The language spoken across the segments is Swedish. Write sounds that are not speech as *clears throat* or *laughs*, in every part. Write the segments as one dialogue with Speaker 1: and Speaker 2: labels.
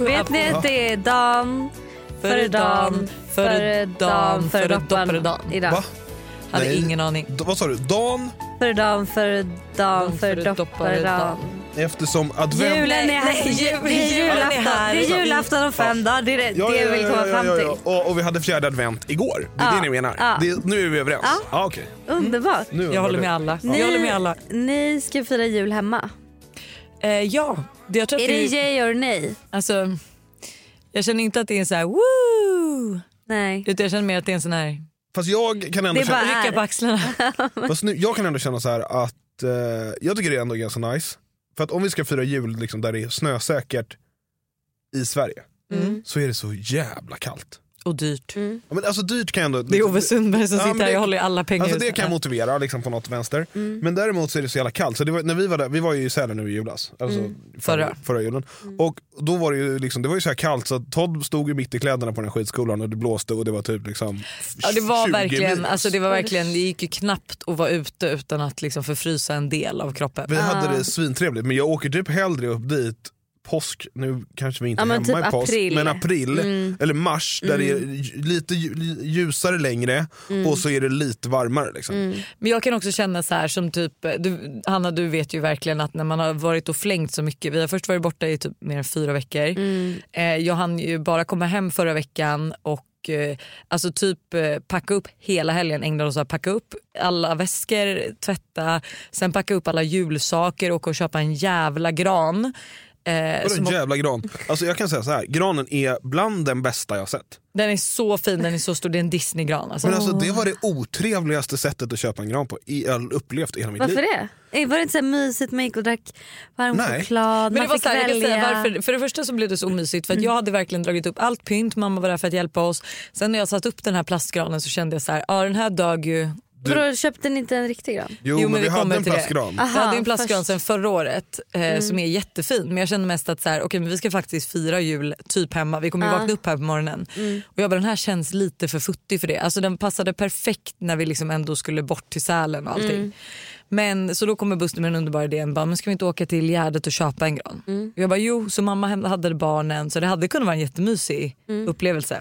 Speaker 1: Vet ni, det är dan före dan före dan före dopparedan. Idag.
Speaker 2: Va?
Speaker 1: Hade
Speaker 2: Nej.
Speaker 1: ingen aning.
Speaker 2: D- vad sa du? Dan
Speaker 3: Före dan, före dan, före dopparedan.
Speaker 2: eftersom advent...
Speaker 3: Julen är
Speaker 1: Nej,
Speaker 3: här.
Speaker 1: nej, jul-
Speaker 3: Det är
Speaker 1: julen är
Speaker 3: julafton.
Speaker 1: här.
Speaker 3: Det är julafton om fem dagar. Det är det, det jag vill komma fram till.
Speaker 2: Och, och vi hade fjärde advent igår. Det är
Speaker 3: Ja,
Speaker 2: det ni menar?
Speaker 3: ja.
Speaker 2: Det, nu är vi överens?
Speaker 3: Ja.
Speaker 2: Ja, okej.
Speaker 3: Underbart.
Speaker 2: Nu
Speaker 1: Jag
Speaker 2: var
Speaker 1: håller
Speaker 2: det-
Speaker 1: med alla.
Speaker 3: Ni-
Speaker 1: Jag håller med alla.
Speaker 3: Ni ska fira jul hemma.
Speaker 1: Eh, ja, det- jag tror att
Speaker 3: Är det
Speaker 1: det är,
Speaker 3: yay or nej?
Speaker 1: alltså, jag känner inte att det är en sån här woo!
Speaker 3: Nej.
Speaker 1: Utan jag känner mer att det är en sån här
Speaker 2: Fast jag kan ändå
Speaker 3: Det är
Speaker 2: känna,
Speaker 3: bara-
Speaker 1: rycka på *laughs* axlarna.
Speaker 2: fast nu, jag kan ändå känna så här att eh, jag tycker det ändå är ganska nice. För att om vi ska fira jul liksom, där det är snösäkert i Sverige
Speaker 1: Mm.
Speaker 2: så är det så jävla kallt.
Speaker 1: Och dyrt.
Speaker 2: Ja, men alltså dyrt kan jag ändå...
Speaker 1: Det är Ove Sundberg som
Speaker 2: Ja, men
Speaker 1: sitter här
Speaker 2: det-
Speaker 1: och håller i alla pengar.
Speaker 2: Alltså
Speaker 1: ur
Speaker 2: det kan jag
Speaker 1: sig.
Speaker 2: motivera liksom, på något vänster.
Speaker 1: Mm.
Speaker 2: Men däremot så är det så jävla kallt. Så det var, när vi, var där, vi var ju i Sälen nu i julas. Alltså förra.
Speaker 1: Mm. Förra. Mm.
Speaker 2: förra julen. Och då var det ju, liksom, det var ju så här kallt så att Todd stod ju mitt i kläderna på den här skidskolan och det blåste och det var typ liksom
Speaker 1: Ja, det, var
Speaker 2: 20
Speaker 1: verkligen,
Speaker 2: minus.
Speaker 1: alltså det var verkligen, det gick ju knappt att vara ute utan att liksom förfrysa en del av kroppen.
Speaker 2: Vi hade
Speaker 1: Ah.
Speaker 2: det svintrevligt men jag åker typ hellre upp dit påsk, nu kanske vi inte
Speaker 3: Ja,
Speaker 2: är
Speaker 3: men
Speaker 2: hemma
Speaker 3: typ
Speaker 2: i påsk,
Speaker 3: april.
Speaker 2: men april
Speaker 1: Mm.
Speaker 3: Mm,
Speaker 2: eller mars där det är lj- lite lj- ljusare längre
Speaker 1: Mm.
Speaker 2: och så är det lite varmare. Liksom.
Speaker 3: mm,
Speaker 1: Men jag kan också känna så här som typ, du, Hanna du vet ju verkligen att när man har varit och flängt så mycket, vi har först varit borta i typ mer än fyra veckor.
Speaker 2: Mm.
Speaker 3: mm.
Speaker 1: Eh, jag hann ju bara komma hem förra veckan och eh, alltså typ eh, packa upp hela helgen, ägnade oss åt att packa upp alla väskor, tvätta, sen packa upp alla julsaker, åka och köpa en jävla gran. Eh,
Speaker 2: Vadå
Speaker 1: som-
Speaker 2: jävla gran? Alltså jag kan säga så här, granen är bland den bästa jag sett.
Speaker 1: den är så fin, den är så stor, det är en Disneygran. Alltså.
Speaker 2: Men alltså det var det otrevligaste sättet att köpa en gran på i all upplevt i hela mitt
Speaker 3: Varför
Speaker 2: liv.
Speaker 3: det? Eh, Var det inte så här mysigt man gick och drack varm
Speaker 2: Nej.
Speaker 3: choklad?
Speaker 1: Men det
Speaker 3: man
Speaker 1: var
Speaker 3: fick
Speaker 1: så här, jag kan
Speaker 3: välja. Mm.
Speaker 1: säga varför, för det första så blev det så omysigt för att jag hade verkligen dragit upp allt pynt, mamma var där för att hjälpa oss. Sen när jag satt upp den här plastgranen så kände jag så här, ja den här dög ju.
Speaker 3: Vadå, köpte ni inte en riktig gran?
Speaker 2: Jo, men, vi, hade
Speaker 1: kommer
Speaker 2: en
Speaker 1: till det. Ah.
Speaker 2: plastgran.
Speaker 1: Vi hade ju en
Speaker 3: Aha,
Speaker 1: plastgran
Speaker 3: först. Mm.
Speaker 1: sen förra året eh, som är jättefin men jag kände mest att så här, okej, men vi ska faktiskt fira jul typ hemma, vi kommer ju vakna upp här på morgonen.
Speaker 3: Mm.
Speaker 1: Och jag bara den här känns lite för futtig för det. Alltså den passade perfekt när vi liksom ändå skulle bort till Sälen och allting.
Speaker 3: Mm.
Speaker 1: Men så då kommer Buster med den underbara idén, bara, men ska vi inte åka till Gärdet och köpa en gran?
Speaker 3: Mm.
Speaker 1: Och jag bara jo, så mamma hem- hade barnen så det hade kunnat vara en jättemysig
Speaker 3: Mm.
Speaker 1: upplevelse.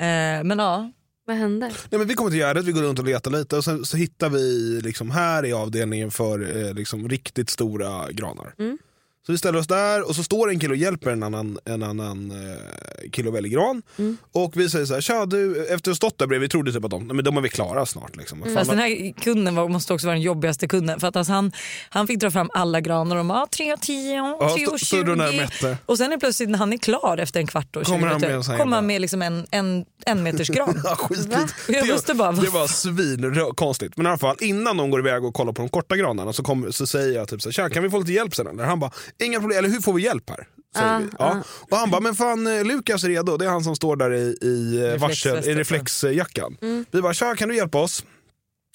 Speaker 1: Eh, men ja,
Speaker 3: Vad hände?
Speaker 2: Nej, men vi kommer till Gärdet, vi går runt och letar lite och sen så hittar vi liksom här i avdelningen för eh, liksom riktigt stora granar.
Speaker 1: Mm.
Speaker 2: Så vi ställer oss där och så står en kille och hjälper en annan, en annan eh, kille att välja gran.
Speaker 1: Mm.
Speaker 2: Och vi säger så här, tja du, efter att ha stått där bredvid, vi trodde typ att de, nej, men de är väl klara snart. Liksom. Vad fan,
Speaker 1: Mm. Fast den här kunden var, måste också vara den jobbigaste kunden för att alltså han, han fick dra fram alla granar och de bara "Ah, 3 och 10,
Speaker 2: Ja,
Speaker 1: 3
Speaker 2: stå-
Speaker 1: och
Speaker 2: stod du där och
Speaker 1: 20
Speaker 2: mätte?
Speaker 1: och sen är plötsligt när han är klar efter en kvart och 20
Speaker 2: Kommer han med en sån
Speaker 1: minuter
Speaker 2: här
Speaker 1: kommer han
Speaker 2: jävla-
Speaker 1: med liksom en, en, en meters gran.
Speaker 2: *laughs* Ja, skitigt.
Speaker 1: Och jag
Speaker 2: Det-
Speaker 1: måste bara,
Speaker 2: Det var svinkonstigt. Men i alla fall innan de går iväg och kollar på de korta granarna så, kom, så säger jag typ så här, "Tja, kan vi få lite hjälp sen eller? Han bara, inga problem, eller hur får vi hjälp här? Säger
Speaker 3: Ah,
Speaker 2: vi. Ja. Och han bara, men fan eh, Lukas är redo, det är han som står där i, i, eh, varsel, i
Speaker 1: Reflexvästen.
Speaker 2: reflexjackan. Vi bara, tja kan du hjälpa oss?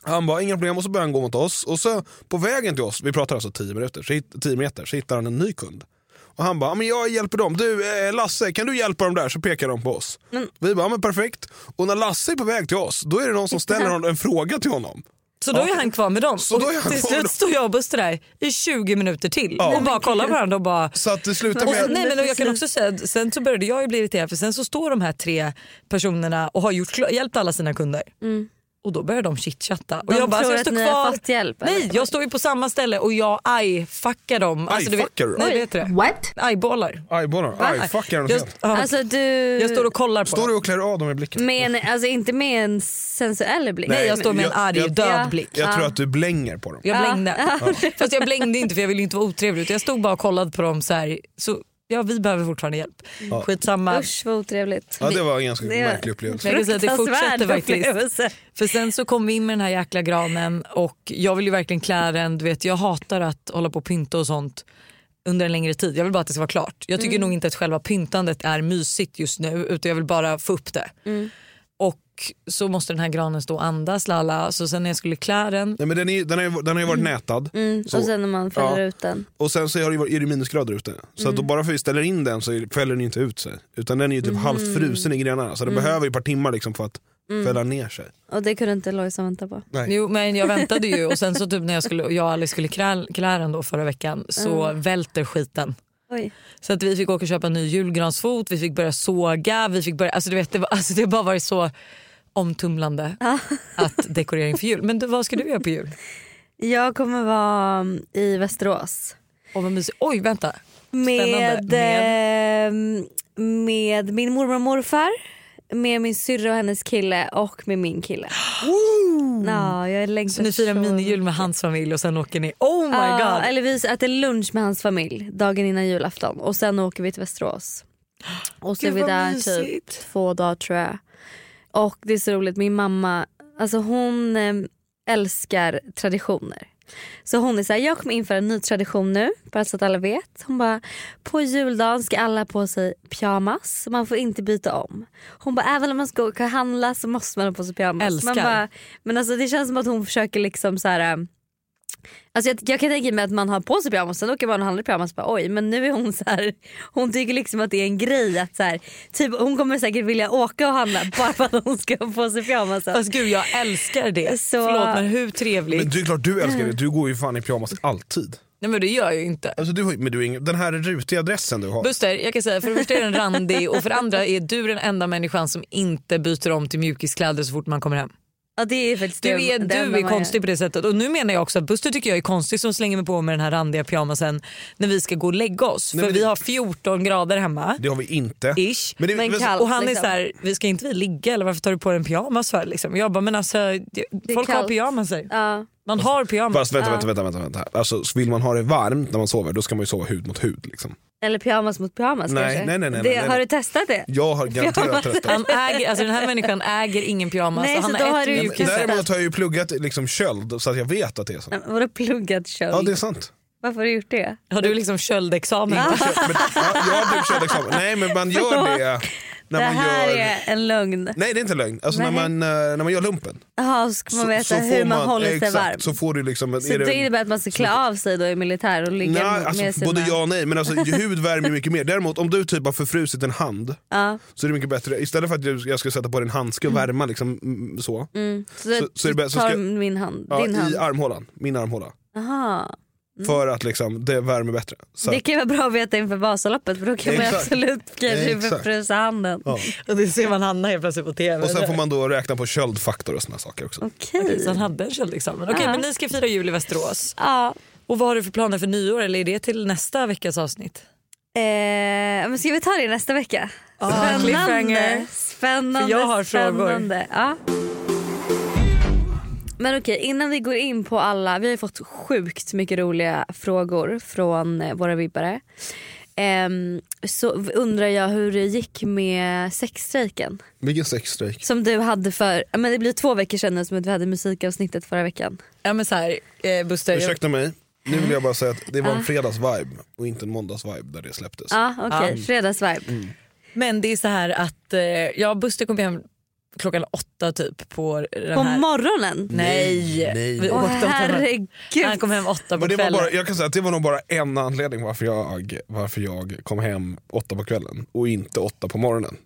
Speaker 2: Han bara, inga problem, och så börjar han gå mot oss. Och så på vägen till oss, vi pratar alltså 10 minuter, så, hit- 10 meter, så hittar han en ny kund. Och han bara, ja, men jag hjälper dem. Du eh, Lasse, kan du hjälpa dem där? Så pekar de på oss. Vi bara, ja, men perfekt. Och när Lasse är på väg till oss, då är det någon som ställer hon- en fråga till honom.
Speaker 1: Så då är han kvar med dem
Speaker 2: Så då är han
Speaker 1: och till
Speaker 2: kvar med dem.
Speaker 1: slut står jag och Buster där i 20 minuter till och bara kollar på varandra och bara
Speaker 2: Så att det slutar
Speaker 1: Och,
Speaker 2: med...
Speaker 1: nej, men jag kan också säga, att sen så började jag ju bli irriterad för sen så står de här tre personerna och har gjort, kla- hjälpt alla sina kunder. Och då börjar de chitchatta. Och
Speaker 3: Mm. De
Speaker 1: jag bara,
Speaker 3: tror
Speaker 1: alltså, jag
Speaker 3: att
Speaker 1: står
Speaker 3: ni har
Speaker 1: kvar.
Speaker 3: fått hjälp,
Speaker 1: Nej,
Speaker 3: eller?
Speaker 1: jag står ju på samma ställe och jag aj-fuckar dem. Alltså, du vet,
Speaker 2: Aj-fuckar du?
Speaker 1: nej, vet du det?
Speaker 4: What?
Speaker 1: Ajbollar.
Speaker 2: Ajbollar, ajfuckar
Speaker 1: Jag,
Speaker 2: helt.
Speaker 1: ja,
Speaker 3: Alltså du...
Speaker 1: jag står och kollar på
Speaker 2: Står du
Speaker 1: dem.
Speaker 2: och klär av dem i blicken?
Speaker 3: med en, alltså inte med en sensuell blick.
Speaker 1: Nej, jag står med en
Speaker 2: jag-
Speaker 1: arg,
Speaker 2: jag-
Speaker 1: död
Speaker 3: Ja.
Speaker 1: blick.
Speaker 2: Jag tror att du blänger på dem.
Speaker 1: Jag blängde. Fast jag blängde inte för jag ville inte vara otrevlig utan jag stod bara och kollade på dem så här. Så, ja, vi behöver fortfarande hjälp. Skitsamma.
Speaker 3: Usch vad otrevligt.
Speaker 2: Ja, det var en ganska
Speaker 3: Det-
Speaker 2: märklig upplevelse.
Speaker 1: Men jag kan säga att det fortsätter
Speaker 3: Fruktansvärd
Speaker 1: faktiskt.
Speaker 3: upplevelse.
Speaker 1: För sen så kom vi in med den här jäkla granen och jag vill ju verkligen klä den. Du vet, jag hatar att hålla på och pynta och sånt under en längre tid. Jag vill bara att det ska vara klart. Jag tycker nog inte att själva pyntandet är mysigt just nu utan jag vill bara få upp det. Och så måste den här granen stå och andas lalla. Så sen när jag skulle klä den,
Speaker 2: Nej, men den, är, ju- den, har ju, den har ju varit nätad. Så-
Speaker 3: Mm, Och sen när man fäller
Speaker 2: Ja.
Speaker 3: ut den.
Speaker 2: Och sen så är det, ju varit- är det minusgrader ute. Så
Speaker 3: Mm.
Speaker 2: att då bara för att vi ställer in den så är- fäller den ju inte ut sig. Utan den är ju typ
Speaker 3: Mm.
Speaker 2: halvt frusen i grenarna. Så det behöver ju ett par timmar liksom för att fälla ner sig.
Speaker 3: Och det kunde inte Lojsan vänta på.
Speaker 2: Nej.
Speaker 1: Jo men jag väntade ju och sen så typ när jag, skulle, jag och Alice skulle klä, klä den då förra veckan så välter skiten.
Speaker 3: Oj. Oj.
Speaker 1: Så att vi fick åka och köpa en ny julgransfot, vi fick börja såga, vi fick börja, alltså du vet det, var, alltså det har bara varit så
Speaker 3: *laughs*
Speaker 1: omtumlande att dekorering för jul. Men du, vad ska du göra på jul?
Speaker 3: Jag kommer vara mm, i Västerås.
Speaker 1: Oh, vad mysigt. Oj vänta, Spännande.
Speaker 3: Med, med? med min mormor och morfar, med min syrra och hennes kille och med
Speaker 2: *gasps*
Speaker 3: min kille. Ja, jag längtar
Speaker 1: så ni firar minijul med hans familj och sen åker ni, oh my
Speaker 3: Ja,
Speaker 1: god.
Speaker 3: Eller vi äter lunch med hans familj dagen innan julafton och sen åker vi till Västerås. Och så är
Speaker 1: Gud,
Speaker 3: vi
Speaker 1: vad
Speaker 3: där typ
Speaker 1: mysigt.
Speaker 3: två dagar tror jag. Och det är så roligt, min mamma alltså hon eh, älskar traditioner. Så hon är så här, jag kommer införa en ny tradition nu bara så att alla vet. Hon bara, på juldagen ska alla ha på sig pyjamas. Man får inte byta om. Hon bara, även om man ska åka och handla så måste man ha på sig pyjamas.
Speaker 1: Älskar.
Speaker 3: Man bara, men alltså det känns som att hon försöker liksom så här. eh, Alltså jag, jag kan tänka mig att man har på sig pyjamas, sen åker man och handlar i pyjamas och bara oj men nu är hon så här, *laughs* hon tycker liksom att det är en grej att så här, typ, hon kommer säkert vilja åka och handla *laughs* bara för att hon ska ha på sig pyjamasen.
Speaker 1: Alltså, gud jag älskar det.
Speaker 3: Så-
Speaker 1: Förlåt men hur trevligt?
Speaker 2: Men det är klart du älskar det, du går ju fan i pyjamas alltid.
Speaker 1: Nej men det gör jag ju inte.
Speaker 2: Alltså, du, har ju- men du, har ingen- den här rutiga dressen du har.
Speaker 1: Buster, jag kan säga för det första är den randig och för det andra är du den enda människan som inte byter om till mjukiskläder så fort man kommer hem.
Speaker 3: Ja, det är faktiskt
Speaker 1: Du
Speaker 3: det-
Speaker 1: är,
Speaker 3: det enda
Speaker 1: du är
Speaker 3: man gör.
Speaker 1: konstig på det sättet och nu menar jag också att Buster tycker jag är konstig som slänger mig på med den här randiga pyjamasen när vi ska gå och lägga oss.
Speaker 2: Nej,
Speaker 1: för
Speaker 2: men
Speaker 1: vi
Speaker 2: det-
Speaker 1: har 14 grader hemma.
Speaker 2: Det har vi inte.
Speaker 1: Ish.
Speaker 2: Men det-
Speaker 3: Men
Speaker 2: men-
Speaker 3: kallt,
Speaker 1: och han är
Speaker 3: liksom.
Speaker 1: så här, vi ska inte vi ligga eller varför tar du på dig en pyjamas för? Liksom. Jag bara, men alltså, det- folk har
Speaker 3: kallt.
Speaker 1: pyjamaser.
Speaker 3: Ja.
Speaker 1: Man har pyjamas.
Speaker 2: Fast vänta, vänta, vänta, vänta, vänta. Alltså, så vill man ha det varmt när man sover då ska man ju sova hud mot hud. Liksom.
Speaker 3: Eller pyjamas mot pyjamas
Speaker 2: Nej, nej,
Speaker 3: kanske.
Speaker 2: nej, nej,
Speaker 3: det,
Speaker 2: nej, nej.
Speaker 3: Har du testat det?
Speaker 2: Jag har garanterat
Speaker 3: Pyjamas.
Speaker 2: testat.
Speaker 1: Han äger, alltså den här människan äger ingen pyjamas.
Speaker 3: Nej,
Speaker 1: och han
Speaker 3: så då har
Speaker 1: ett
Speaker 3: du ju
Speaker 2: Men
Speaker 1: mjukis.
Speaker 3: kanske-
Speaker 2: Däremot har jag ju pluggat liksom, köld så att jag vet att det är så.
Speaker 3: Nej, men Vadå pluggat köld?
Speaker 2: Ja det är sant.
Speaker 3: Varför har du gjort
Speaker 2: *laughs*
Speaker 3: det?
Speaker 1: Har du liksom köldexamen?
Speaker 2: Men, ja, jag har typ köld examen. Nej men man gör det när
Speaker 3: *laughs* det
Speaker 2: man
Speaker 3: här
Speaker 2: gör...
Speaker 3: är en lögn.
Speaker 2: Nej det är inte lögn. Alltså, när,
Speaker 3: Nej.
Speaker 2: man, eh, när man gör lumpen.
Speaker 3: Jaha, så ska man veta hur
Speaker 2: får
Speaker 3: man, håller sig
Speaker 2: exakt,
Speaker 3: varm.
Speaker 2: Så får du liksom... en-
Speaker 3: Så
Speaker 2: är det-
Speaker 3: det innebär att man ska klä av sig då i militär och ligga
Speaker 2: Nej,
Speaker 3: med
Speaker 2: alltså,
Speaker 3: sina...
Speaker 2: både ja och nej. Men alltså, hud värmer ju mycket mer. Däremot om du typ har förfrusit en hand
Speaker 3: Ja.
Speaker 2: så är det mycket bättre. Istället för att du- jag ska sätta på dig en handske och värma liksom, mm, så.
Speaker 3: Mm. Så,
Speaker 2: Så- så är det
Speaker 3: du
Speaker 2: bäst- så
Speaker 3: tar
Speaker 2: ska-
Speaker 3: min hand,
Speaker 2: Ja,
Speaker 3: din hand.
Speaker 2: I armhålan, min armhåla.
Speaker 3: Aha.
Speaker 2: För att liksom, det värmer bättre. Så
Speaker 3: Det
Speaker 2: att-
Speaker 3: kan ju vara bra att veta inför Vasaloppet för då kan man ju
Speaker 2: Exakt.
Speaker 3: absolut kanske
Speaker 2: Exakt.
Speaker 3: förfrysa handen.
Speaker 2: Ja.
Speaker 1: Och det ser man Hanna helt plötsligt på tv.
Speaker 2: Och sen får man då räkna på köldfaktor och såna saker också.
Speaker 3: Okej.
Speaker 1: Så han hade en köldexamen. Okej
Speaker 3: Ja.
Speaker 1: men ni ska fira jul i Västerås.
Speaker 3: Ja.
Speaker 1: Och vad har du för planer för nyår eller är det till nästa veckas avsnitt?
Speaker 3: Eh, men ska vi ta det nästa vecka?
Speaker 1: cliffhanger.
Speaker 3: Spännande. Spännande.
Speaker 1: För jag har frågor.
Speaker 3: spännande. Ja. Men okej, innan vi går in på alla. Vi har fått sjukt mycket roliga frågor från eh, våra vibbare. Ehm, så undrar jag hur det gick med sexstrejken
Speaker 2: Vilken sexstrejk.
Speaker 3: som du hade för ja, men det blir två veckor sedan nu som att vi hade musikavsnittet förra veckan.
Speaker 1: Ja men så här, eh, Buster. jag- Ah.
Speaker 2: Ursäkta mig, nu vill jag bara säga att det var en fredagsvibe och inte en måndagsvibe där det släpptes. Mm.
Speaker 3: Ja, okej. Fredagsvibe.
Speaker 1: Men Ah. det är så här att eh, ja, Buster kom hem klockan åtta typ på den
Speaker 3: På
Speaker 1: här.
Speaker 3: morgonen?
Speaker 1: Nej.
Speaker 2: Nej.
Speaker 1: Vi
Speaker 3: Åh,
Speaker 1: åkte om timmar.
Speaker 3: herregud.
Speaker 1: Han kom hem åtta på
Speaker 2: Men det var
Speaker 1: kvällen.
Speaker 2: bara, jag kan säga att det var nog bara en anledning varför jag, varför jag kom hem åtta på kvällen och inte åtta på morgonen.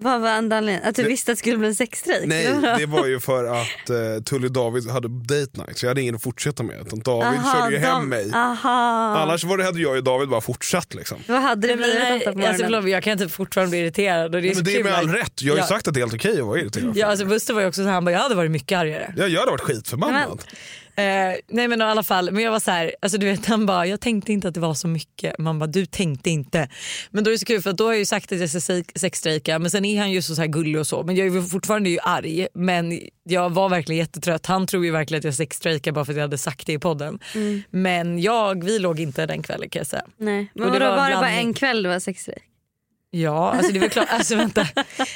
Speaker 3: Vad var andra anledningen? Att du visste att det skulle bli en sexstrejk?
Speaker 2: Nej, det var ju för att eh, Tully och David hade date night så jag hade ingen att fortsätta med. Utan David
Speaker 3: Aha,
Speaker 2: körde ju hem
Speaker 3: de-
Speaker 1: Ah.
Speaker 2: mig.
Speaker 3: Aha.
Speaker 2: Annars var det, hade jag och David bara fortsatt. Liksom.
Speaker 3: Vad hade det
Speaker 1: Nej, men,
Speaker 3: blivit
Speaker 1: nej,
Speaker 3: åtta på
Speaker 1: alltså,
Speaker 3: morgonen?
Speaker 1: förlåt, jag kan typ fortfarande bli irriterad. Och det är, så
Speaker 2: Men det är
Speaker 1: kul,
Speaker 2: med all
Speaker 1: like-
Speaker 2: rätt, jag har ju
Speaker 1: Ja.
Speaker 2: sagt att det är helt okej att vara irriterad.
Speaker 1: Ja, alltså Buster var ju också så här, han bara, jag hade varit mycket argare.
Speaker 2: Ja, jag hade varit skitförbannad.
Speaker 3: Men-
Speaker 1: Eh, nej men i alla fall, men jag var så här, alltså du vet han bara jag tänkte inte att det var så mycket. Man bara du tänkte inte. Men då är det så kul för att då har jag ju sagt att jag ska se- sexstrejka men sen är han ju så, så här gullig och så men jag är ju fortfarande ju arg men jag var verkligen jättetrött. Han tror ju verkligen att jag sexstrejkar bara för att jag hade sagt det i podden.
Speaker 3: Mm.
Speaker 1: Men jag, vi låg inte den kvällen kan jag säga.
Speaker 3: Nej. Men
Speaker 1: Och det
Speaker 3: vadå,
Speaker 1: var
Speaker 3: var, det bara
Speaker 1: blandning.
Speaker 3: en kväll det var sexstrejk?
Speaker 1: Ja, alltså det är väl klart. *laughs* Alltså vänta.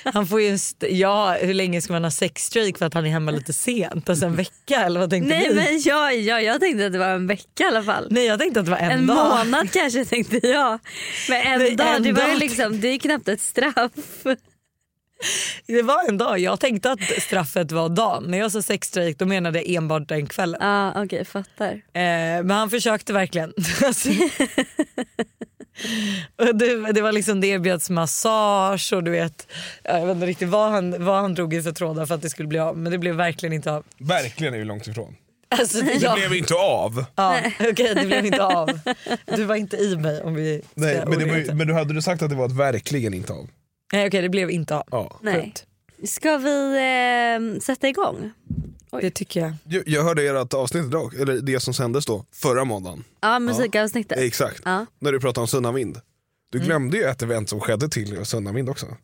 Speaker 1: Han får ju en st- ja, hur länge ska man ha sexstrejk för att han är hemma lite sent? Alltså en vecka eller vad tänkte
Speaker 3: Nej
Speaker 1: ni?
Speaker 3: men jag, jag, jag tänkte att det var en vecka i alla fall.
Speaker 1: Nej jag tänkte att det var en,
Speaker 3: En
Speaker 1: dag.
Speaker 3: månad kanske tänkte jag. Men en
Speaker 1: Nej,
Speaker 3: dag,
Speaker 1: en
Speaker 3: det, var ju
Speaker 1: dag.
Speaker 3: liksom, det är ju knappt ett straff.
Speaker 1: Det var en dag. Jag tänkte att straffet var dagen. När jag sa sexstrejk då menade jag enbart den kvällen.
Speaker 3: Ja okej fattar.
Speaker 1: Eh, men han försökte verkligen. *laughs* Alltså- och det, det var liksom det erbjöds massage och du vet. Jag vet inte riktigt vad han, vad han drog i för trådar för att det skulle bli av. Men det blev verkligen inte av.
Speaker 2: Verkligen är ju långt ifrån.
Speaker 1: Alltså,
Speaker 2: Det
Speaker 1: jag,
Speaker 2: blev inte av.
Speaker 1: ja, okej, det blev inte av. Du var inte i mig om vi ska
Speaker 2: Nej, men, det var, ju-
Speaker 1: ordentligt.
Speaker 2: men du hade du sagt att det var ett verkligen inte av.
Speaker 1: Nej okej, det blev inte av.
Speaker 2: Ja.
Speaker 3: Nej.
Speaker 1: Punkt.
Speaker 3: Ska vi eh, sätta igång?
Speaker 1: Det tycker jag.
Speaker 2: Jag, jag hörde ert avsnitt idag, eller det som sändes då, förra måndagen.
Speaker 3: Ja, musikavsnittet.
Speaker 2: Exakt.
Speaker 3: Ja.
Speaker 2: När du pratade om Sunnavind. Du
Speaker 1: Mm.
Speaker 2: glömde ju ett event som skedde till Sunnavind också. Och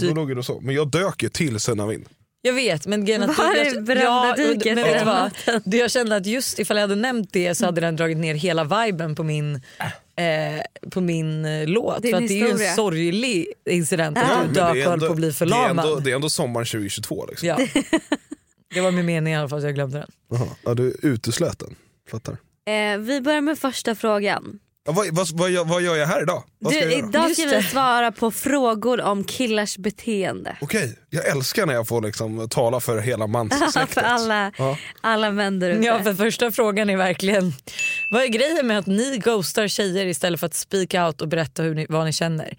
Speaker 1: Du-
Speaker 2: då låg ju du så. Men jag dök ju till Sunnavind.
Speaker 1: Jag vet men grejen att
Speaker 3: Var
Speaker 1: jag-
Speaker 3: är brända diket
Speaker 1: men vet du
Speaker 3: i
Speaker 1: vad? Det jag kände att just ifall jag hade nämnt det så hade den dragit ner hela viben på min,
Speaker 2: Äh.
Speaker 1: eh, på min eh, låt.
Speaker 3: Din
Speaker 1: för att det är ju
Speaker 3: historia.
Speaker 1: en sorglig incident
Speaker 3: Ja,
Speaker 1: att
Speaker 2: Men
Speaker 1: du
Speaker 2: det är
Speaker 1: dök och höll
Speaker 2: ändå-
Speaker 1: på att bli
Speaker 2: det är
Speaker 1: förlamad.
Speaker 2: ändå, det är ändå sommaren 2022 liksom.
Speaker 1: Ja.
Speaker 3: *laughs*
Speaker 1: Det var min mening i alla fall så jag glömde den.
Speaker 2: Jaha, ja, du uteslöt den. Fattar.
Speaker 3: Eh, vi börjar med första frågan.
Speaker 2: Ja, vad, vad, vad, gör- vad gör jag här idag? Vad ska
Speaker 3: Du,
Speaker 2: jag göra?
Speaker 3: idag
Speaker 1: Just
Speaker 3: ska vi
Speaker 1: det.
Speaker 3: svara på frågor om killars beteende.
Speaker 2: Okej, jag älskar när jag får liksom tala för
Speaker 1: *laughs*
Speaker 2: hela manssläktet.
Speaker 3: *laughs* för alla,
Speaker 2: Ja.
Speaker 3: alla män där ute.
Speaker 1: Ja, för första frågan är verkligen vad är grejen med att ni ghostar tjejer istället för att speak out och berätta hur ni, vad ni känner?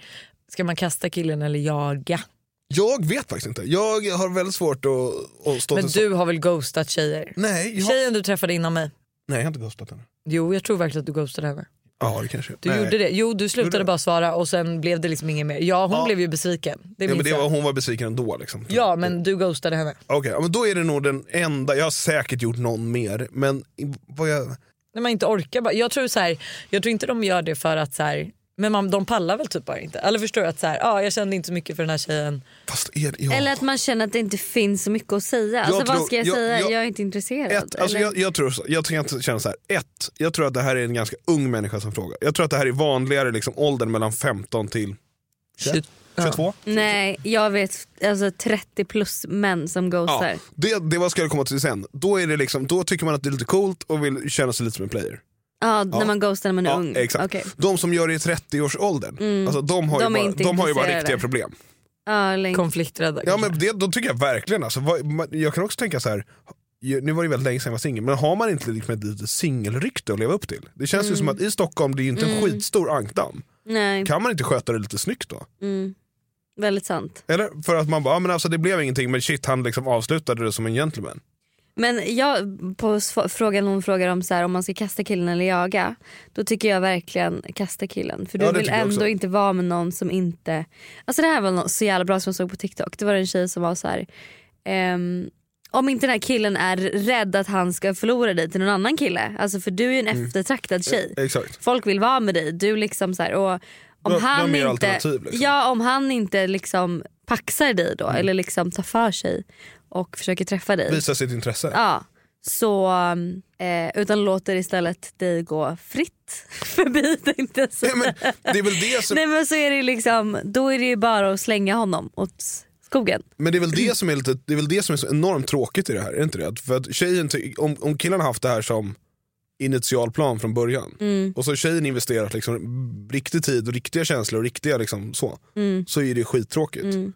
Speaker 1: Ska man kasta killen eller jaga?
Speaker 2: Jag vet faktiskt inte. Jag har väldigt svårt att, att stå
Speaker 1: Men
Speaker 2: till
Speaker 1: du har väl ghostat tjejer?
Speaker 2: Nej, jag,
Speaker 1: Tjejen du träffade innan mig?
Speaker 2: nej, jag har inte ghostat henne.
Speaker 1: Jo, jag tror verkligen att du ghostade henne.
Speaker 2: Ja, det kanske jag-
Speaker 1: Du
Speaker 2: nej.
Speaker 1: gjorde det. Jo, du
Speaker 2: Gjorde
Speaker 1: slutade
Speaker 2: jag?
Speaker 1: bara svara och sen blev det liksom inget mer. Ja, hon
Speaker 2: Ja.
Speaker 1: blev ju besviken. Det
Speaker 2: Ja, men
Speaker 1: minns
Speaker 2: det
Speaker 1: jag.
Speaker 2: var, hon var besviken ändå. Liksom.
Speaker 1: Ja, men du ghostade henne.
Speaker 2: Okej, ja, men då är det nog den enda, jag har säkert gjort någon mer, men i- vad jag...
Speaker 1: När man inte orkar bara. Jag tror, så här, jag tror inte de gör det för att så här, men man, de pallar väl typ bara inte. Eller förstår du att så här, ja, jag kände inte så mycket för den här tjejen.
Speaker 2: Fast är det, ja.
Speaker 3: Eller att man känner att det inte finns så mycket att säga. Alltså,
Speaker 2: tror-
Speaker 3: vad ska jag,
Speaker 2: jag-
Speaker 3: säga?
Speaker 2: jag-
Speaker 3: Jag, är inte intresserad.
Speaker 2: ett, alltså
Speaker 3: eller?
Speaker 2: jag, jag tror så, jag tänker känna så här. ett, jag tror att det här är en ganska ung människa som frågar. Jag tror att det här är vanligare liksom åldern mellan 15 till 21, 22.
Speaker 3: Nej, jag vet alltså 30 plus män som
Speaker 2: Ja.
Speaker 3: ghostar.
Speaker 2: Det, det var ska jag komma till sen. Då, är det liksom, då tycker man att det är lite coolt och vill känna sig lite som en player.
Speaker 3: Ja, när man ghostar när man är
Speaker 2: Ja,
Speaker 3: ung.
Speaker 2: exakt.
Speaker 3: Okej.
Speaker 2: De som gör det i 30-årsåldern, alltså, de, har ju
Speaker 3: Mm. De är
Speaker 2: bara,
Speaker 3: inte
Speaker 2: de har ju bara
Speaker 3: intresserade.
Speaker 2: riktiga problem.
Speaker 3: Ja, länge.
Speaker 1: Konflikträdda.
Speaker 2: Ja,
Speaker 1: kanske.
Speaker 2: men det, då tycker jag verkligen alltså, vad, man, Jag kan också tänka så här. ju- Nu var det ju väldigt länge sedan jag var singel, men har man inte liksom ett litet singelrykte att leva upp till? Det känns ju
Speaker 3: Mm.
Speaker 2: som att i Stockholm, det är ju inte en skitstor ankdamm.
Speaker 3: Nej, Mm.
Speaker 2: Kan man inte sköta det lite snyggt då?
Speaker 3: väldigt sant.
Speaker 2: Eller för att man bara, ah, men alltså det blev ingenting men shit han liksom avslutade det som en gentleman.
Speaker 3: Men jag, på sv- frågan hon frågar om så här, om man ska kasta killen eller jaga. Då tycker jag verkligen kasta killen. För du
Speaker 2: Ja, det
Speaker 3: vill
Speaker 2: tycker jag
Speaker 3: ändå
Speaker 2: också.
Speaker 3: inte vara med någon som inte... Alltså det här var något så jävla bra som jag såg på TikTok. Det var en tjej som var så här. ehm, om inte den här killen är rädd att han ska förlora dig till någon annan kille. Alltså för du är ju en
Speaker 2: Mm.
Speaker 3: eftertraktad tjej.
Speaker 2: Exakt.
Speaker 3: folk vill vara med dig. Du liksom så här, och om
Speaker 2: Du- du har
Speaker 3: han
Speaker 2: mer
Speaker 3: inte,
Speaker 2: alternativ, liksom. Mm.
Speaker 3: Ja, om han inte liksom paxar dig då eller liksom tar för sig och försöker träffa dig.
Speaker 2: Visa sitt intresse. *laughs*
Speaker 3: Ja, så eh, utan låter istället dig gå fritt *laughs* förbi tänkte jag säga.
Speaker 2: Nej, men, det är väl det som
Speaker 3: Nej men så är det ju liksom, då är det ju bara att slänga honom åt skogen.
Speaker 2: Men det är väl
Speaker 3: Mm.
Speaker 2: det som är, lite, det är, väl det som är så enormt tråkigt i det här, är det inte det? Att- För att tjejen, ty- om, om killen har haft det här som initialplan från början
Speaker 3: Mm.
Speaker 2: och så har tjejen investerat liksom riktig tid och riktiga känslor och riktiga liksom så,
Speaker 3: Mm.
Speaker 2: så är det skittråkigt.
Speaker 1: Mm.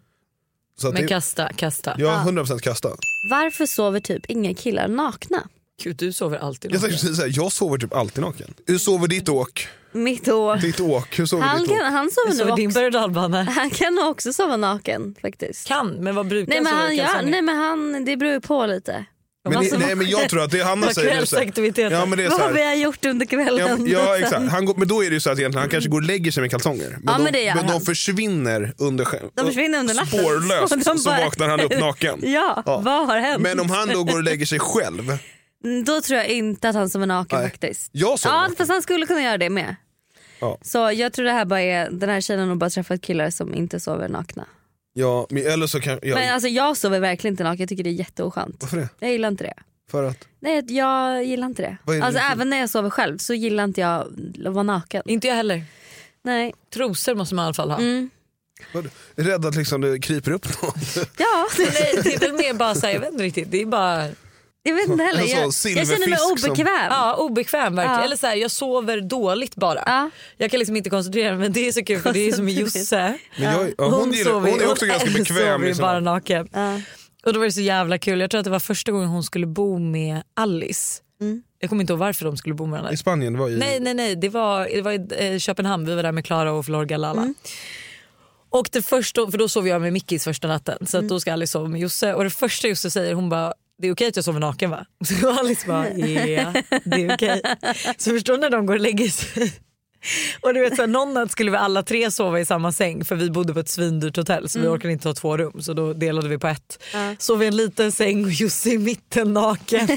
Speaker 2: Så att
Speaker 1: Men
Speaker 2: det,
Speaker 1: kasta, kasta.
Speaker 2: jag har 100% kasta.
Speaker 3: Varför sover typ inga killar nakna?
Speaker 1: Gud, du sover alltid
Speaker 2: Jag
Speaker 1: naken.
Speaker 2: tänkte precis säga, jag sover typ alltid naken. Hur sover ditt åk?
Speaker 3: Mitt år.
Speaker 2: Ditt åk, hur sover
Speaker 3: Han,
Speaker 2: ditt
Speaker 3: kan,
Speaker 2: åk?
Speaker 3: han,
Speaker 1: Du
Speaker 3: sover
Speaker 1: sover
Speaker 3: nog
Speaker 1: din
Speaker 3: också,
Speaker 1: berg och dalbana.
Speaker 3: han kan nog också sova naken faktiskt.
Speaker 1: Kan, men vad brukar
Speaker 3: Nej men,
Speaker 1: sova i
Speaker 3: han, ja,
Speaker 1: kalsonger?
Speaker 3: nej men han, det beror ju på lite.
Speaker 2: Men,
Speaker 1: Alltså,
Speaker 2: nej men jag tror att det Hanna
Speaker 1: vad
Speaker 2: säger är så här-
Speaker 1: kvällsaktiviteter.
Speaker 2: Ja men det är så
Speaker 3: Vad har
Speaker 2: här,
Speaker 3: vi gjort under
Speaker 2: Ja,
Speaker 3: kvällen? *laughs*
Speaker 2: ja exakt, han går, men då är det ju så att egentligen han kanske går och lägger sig med kalsonger. Men,
Speaker 3: Ja,
Speaker 2: de,
Speaker 3: men det gör
Speaker 2: de
Speaker 3: han.
Speaker 2: försvinner under skä-
Speaker 3: De försvinner under natten. Så
Speaker 2: Spårlöst
Speaker 3: de
Speaker 2: så,
Speaker 3: bara-
Speaker 2: vaknar han
Speaker 3: *laughs*
Speaker 2: upp naken.
Speaker 3: Ja,
Speaker 2: Ja.
Speaker 3: vad har hänt?
Speaker 2: Men om han då går och lägger sig själv.
Speaker 3: Mm, Då tror jag inte att han som är naken
Speaker 2: Nej.
Speaker 3: faktiskt.
Speaker 2: Jag sover
Speaker 3: Ja
Speaker 2: naken.
Speaker 3: fast han skulle kunna göra det med.
Speaker 2: Ja.
Speaker 3: Så jag tror det här bara är, den här tjejen har nog bara träffat killar som inte sover nakna.
Speaker 2: Ja, men, eller så kan jag...
Speaker 3: Men alltså jag sover verkligen inte naken, jag tycker det är jätteoskönt.
Speaker 2: Varför det?
Speaker 3: Jag gillar inte det.
Speaker 2: För att?
Speaker 3: Nej jag gillar inte det.
Speaker 2: Vad är det
Speaker 3: alltså
Speaker 2: du-
Speaker 3: även när jag sover själv så gillar inte jag att vara naken.
Speaker 1: Inte jag heller.
Speaker 3: Nej.
Speaker 1: Trosor måste man i alla fall ha.
Speaker 3: Mm.
Speaker 2: Vad, rädd att liksom det kryper upp någon.
Speaker 3: *laughs* Ja.
Speaker 1: Nej, *laughs* det är väl mer bara så här, jag vet inte riktigt. Det är bara
Speaker 3: Jag vet inte heller.
Speaker 2: En sån
Speaker 3: Jag, jag känner mig
Speaker 2: Alltså, silverfisk som-
Speaker 3: obekväm.
Speaker 1: ja, obekväm verkligen.
Speaker 3: Ja.
Speaker 1: Eller så här, jag sover dåligt bara.
Speaker 3: Ja.
Speaker 1: Jag kan liksom inte koncentrera mig men det är så kul för
Speaker 3: *laughs*
Speaker 1: det är som med Josse.
Speaker 2: Men jag, ja, hon, gillar,
Speaker 1: sover ju-
Speaker 2: hon är
Speaker 1: *laughs*
Speaker 2: också ganska bekväm.
Speaker 1: sover ju
Speaker 2: Liksom.
Speaker 1: bara naken. Och då var det så jävla kul. Jag tror att det var första gången hon skulle bo med Alice.
Speaker 3: Mm.
Speaker 1: Jag kommer inte ihåg varför de skulle bo med varandra.
Speaker 2: I Spanien var ju...
Speaker 1: Nej, nej, nej. Det var, det var i eh, Köpenhamn. Vi var där med Klara och Flor Galala. Och det första, för då sov jag med Mickis första natten. Så att då ska Alice sova med Josse. Och det första Josse säger, hon bara det är okej att jag sover naken va? *laughs* Så Alice bara, ja det är okej. Så förstår ni när de går och lägger sig. Och du vet så här, någon natt skulle vi alla tre sova i samma säng för vi bodde på ett svindyrt hotell så vi orkade inte ha två rum så då delade vi på ett. Sov i en liten säng och Jussi i mitten naken.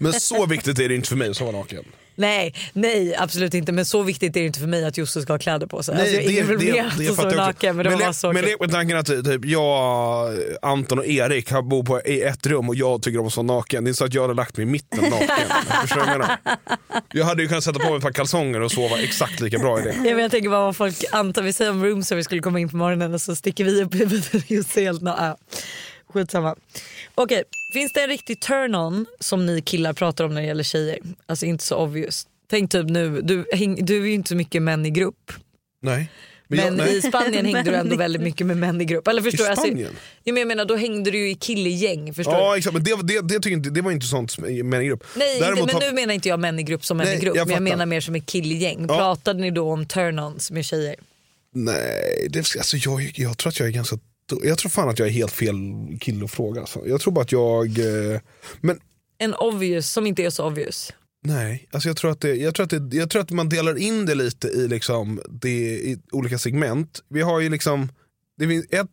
Speaker 2: Men så viktigt är det inte för mig att sova naken.
Speaker 1: nej, nej absolut inte men så viktigt är det inte för mig att Jussi ska ha kläder på sig. alltså, jag är ingen problem att sova
Speaker 2: fattar jag också.
Speaker 1: naken men det var bara så
Speaker 2: Men
Speaker 1: kul.
Speaker 2: lek med tanken att typ, jag, Anton och Erik har bor på, i ett rum och jag tycker om att sova naken. Det är så att jag hade lagt mig i mitten
Speaker 1: *laughs*
Speaker 2: naken. Förstår du vad jag menar? Jag hade ju kunnat sätta på mig ett par kalsonger och sova exakt lika bra i det.
Speaker 1: Ja, men jag tänker bara vad folk antar. Vi säger om room service skulle komma in på morgonen och så sticker vi upp huvudet och just helt na- ja. Skitsamma. Okej, finns det en riktig turn-on som ni killar pratar om när det gäller tjejer? Alltså inte så obvious. Tänk typ nu, du, häng, du är ju inte så mycket män i grupp.
Speaker 2: Nej. Men jag,
Speaker 1: Men
Speaker 2: nej.
Speaker 1: i Spanien hängde
Speaker 2: *laughs*
Speaker 1: du ändå väldigt mycket med män i grupp. Eller förstår
Speaker 2: I
Speaker 1: du? Alltså,
Speaker 2: Spanien?
Speaker 1: ja, men jag menar då hängde du ju i killegäng. Förstår
Speaker 2: Ja
Speaker 1: du?
Speaker 2: exakt, men det, det, det, tycker jag inte, det var inte sånt med en grupp.
Speaker 1: Nej,
Speaker 2: Däremot
Speaker 1: inte, men
Speaker 2: har-
Speaker 1: nu menar inte jag män i grupp som män
Speaker 2: Nej,
Speaker 1: i grupp.
Speaker 2: jag
Speaker 1: men jag
Speaker 2: fattar.
Speaker 1: menar mer som ett killgäng.
Speaker 2: Ja.
Speaker 1: Pratade ni då om turn-ons med tjejer?
Speaker 2: Nej, det, alltså jag, jag tror att jag är ganska dum. Jag tror fan att jag är helt fel kille att fråga. Alltså. Jag tror bara att jag... eh, Men
Speaker 1: En obvious som inte är så obvious.
Speaker 2: nej, alltså jag, tror att det, jag, tror att det, jag tror att man delar in det lite i, liksom, det, i olika segment. Vi har ju liksom... Det finns ett,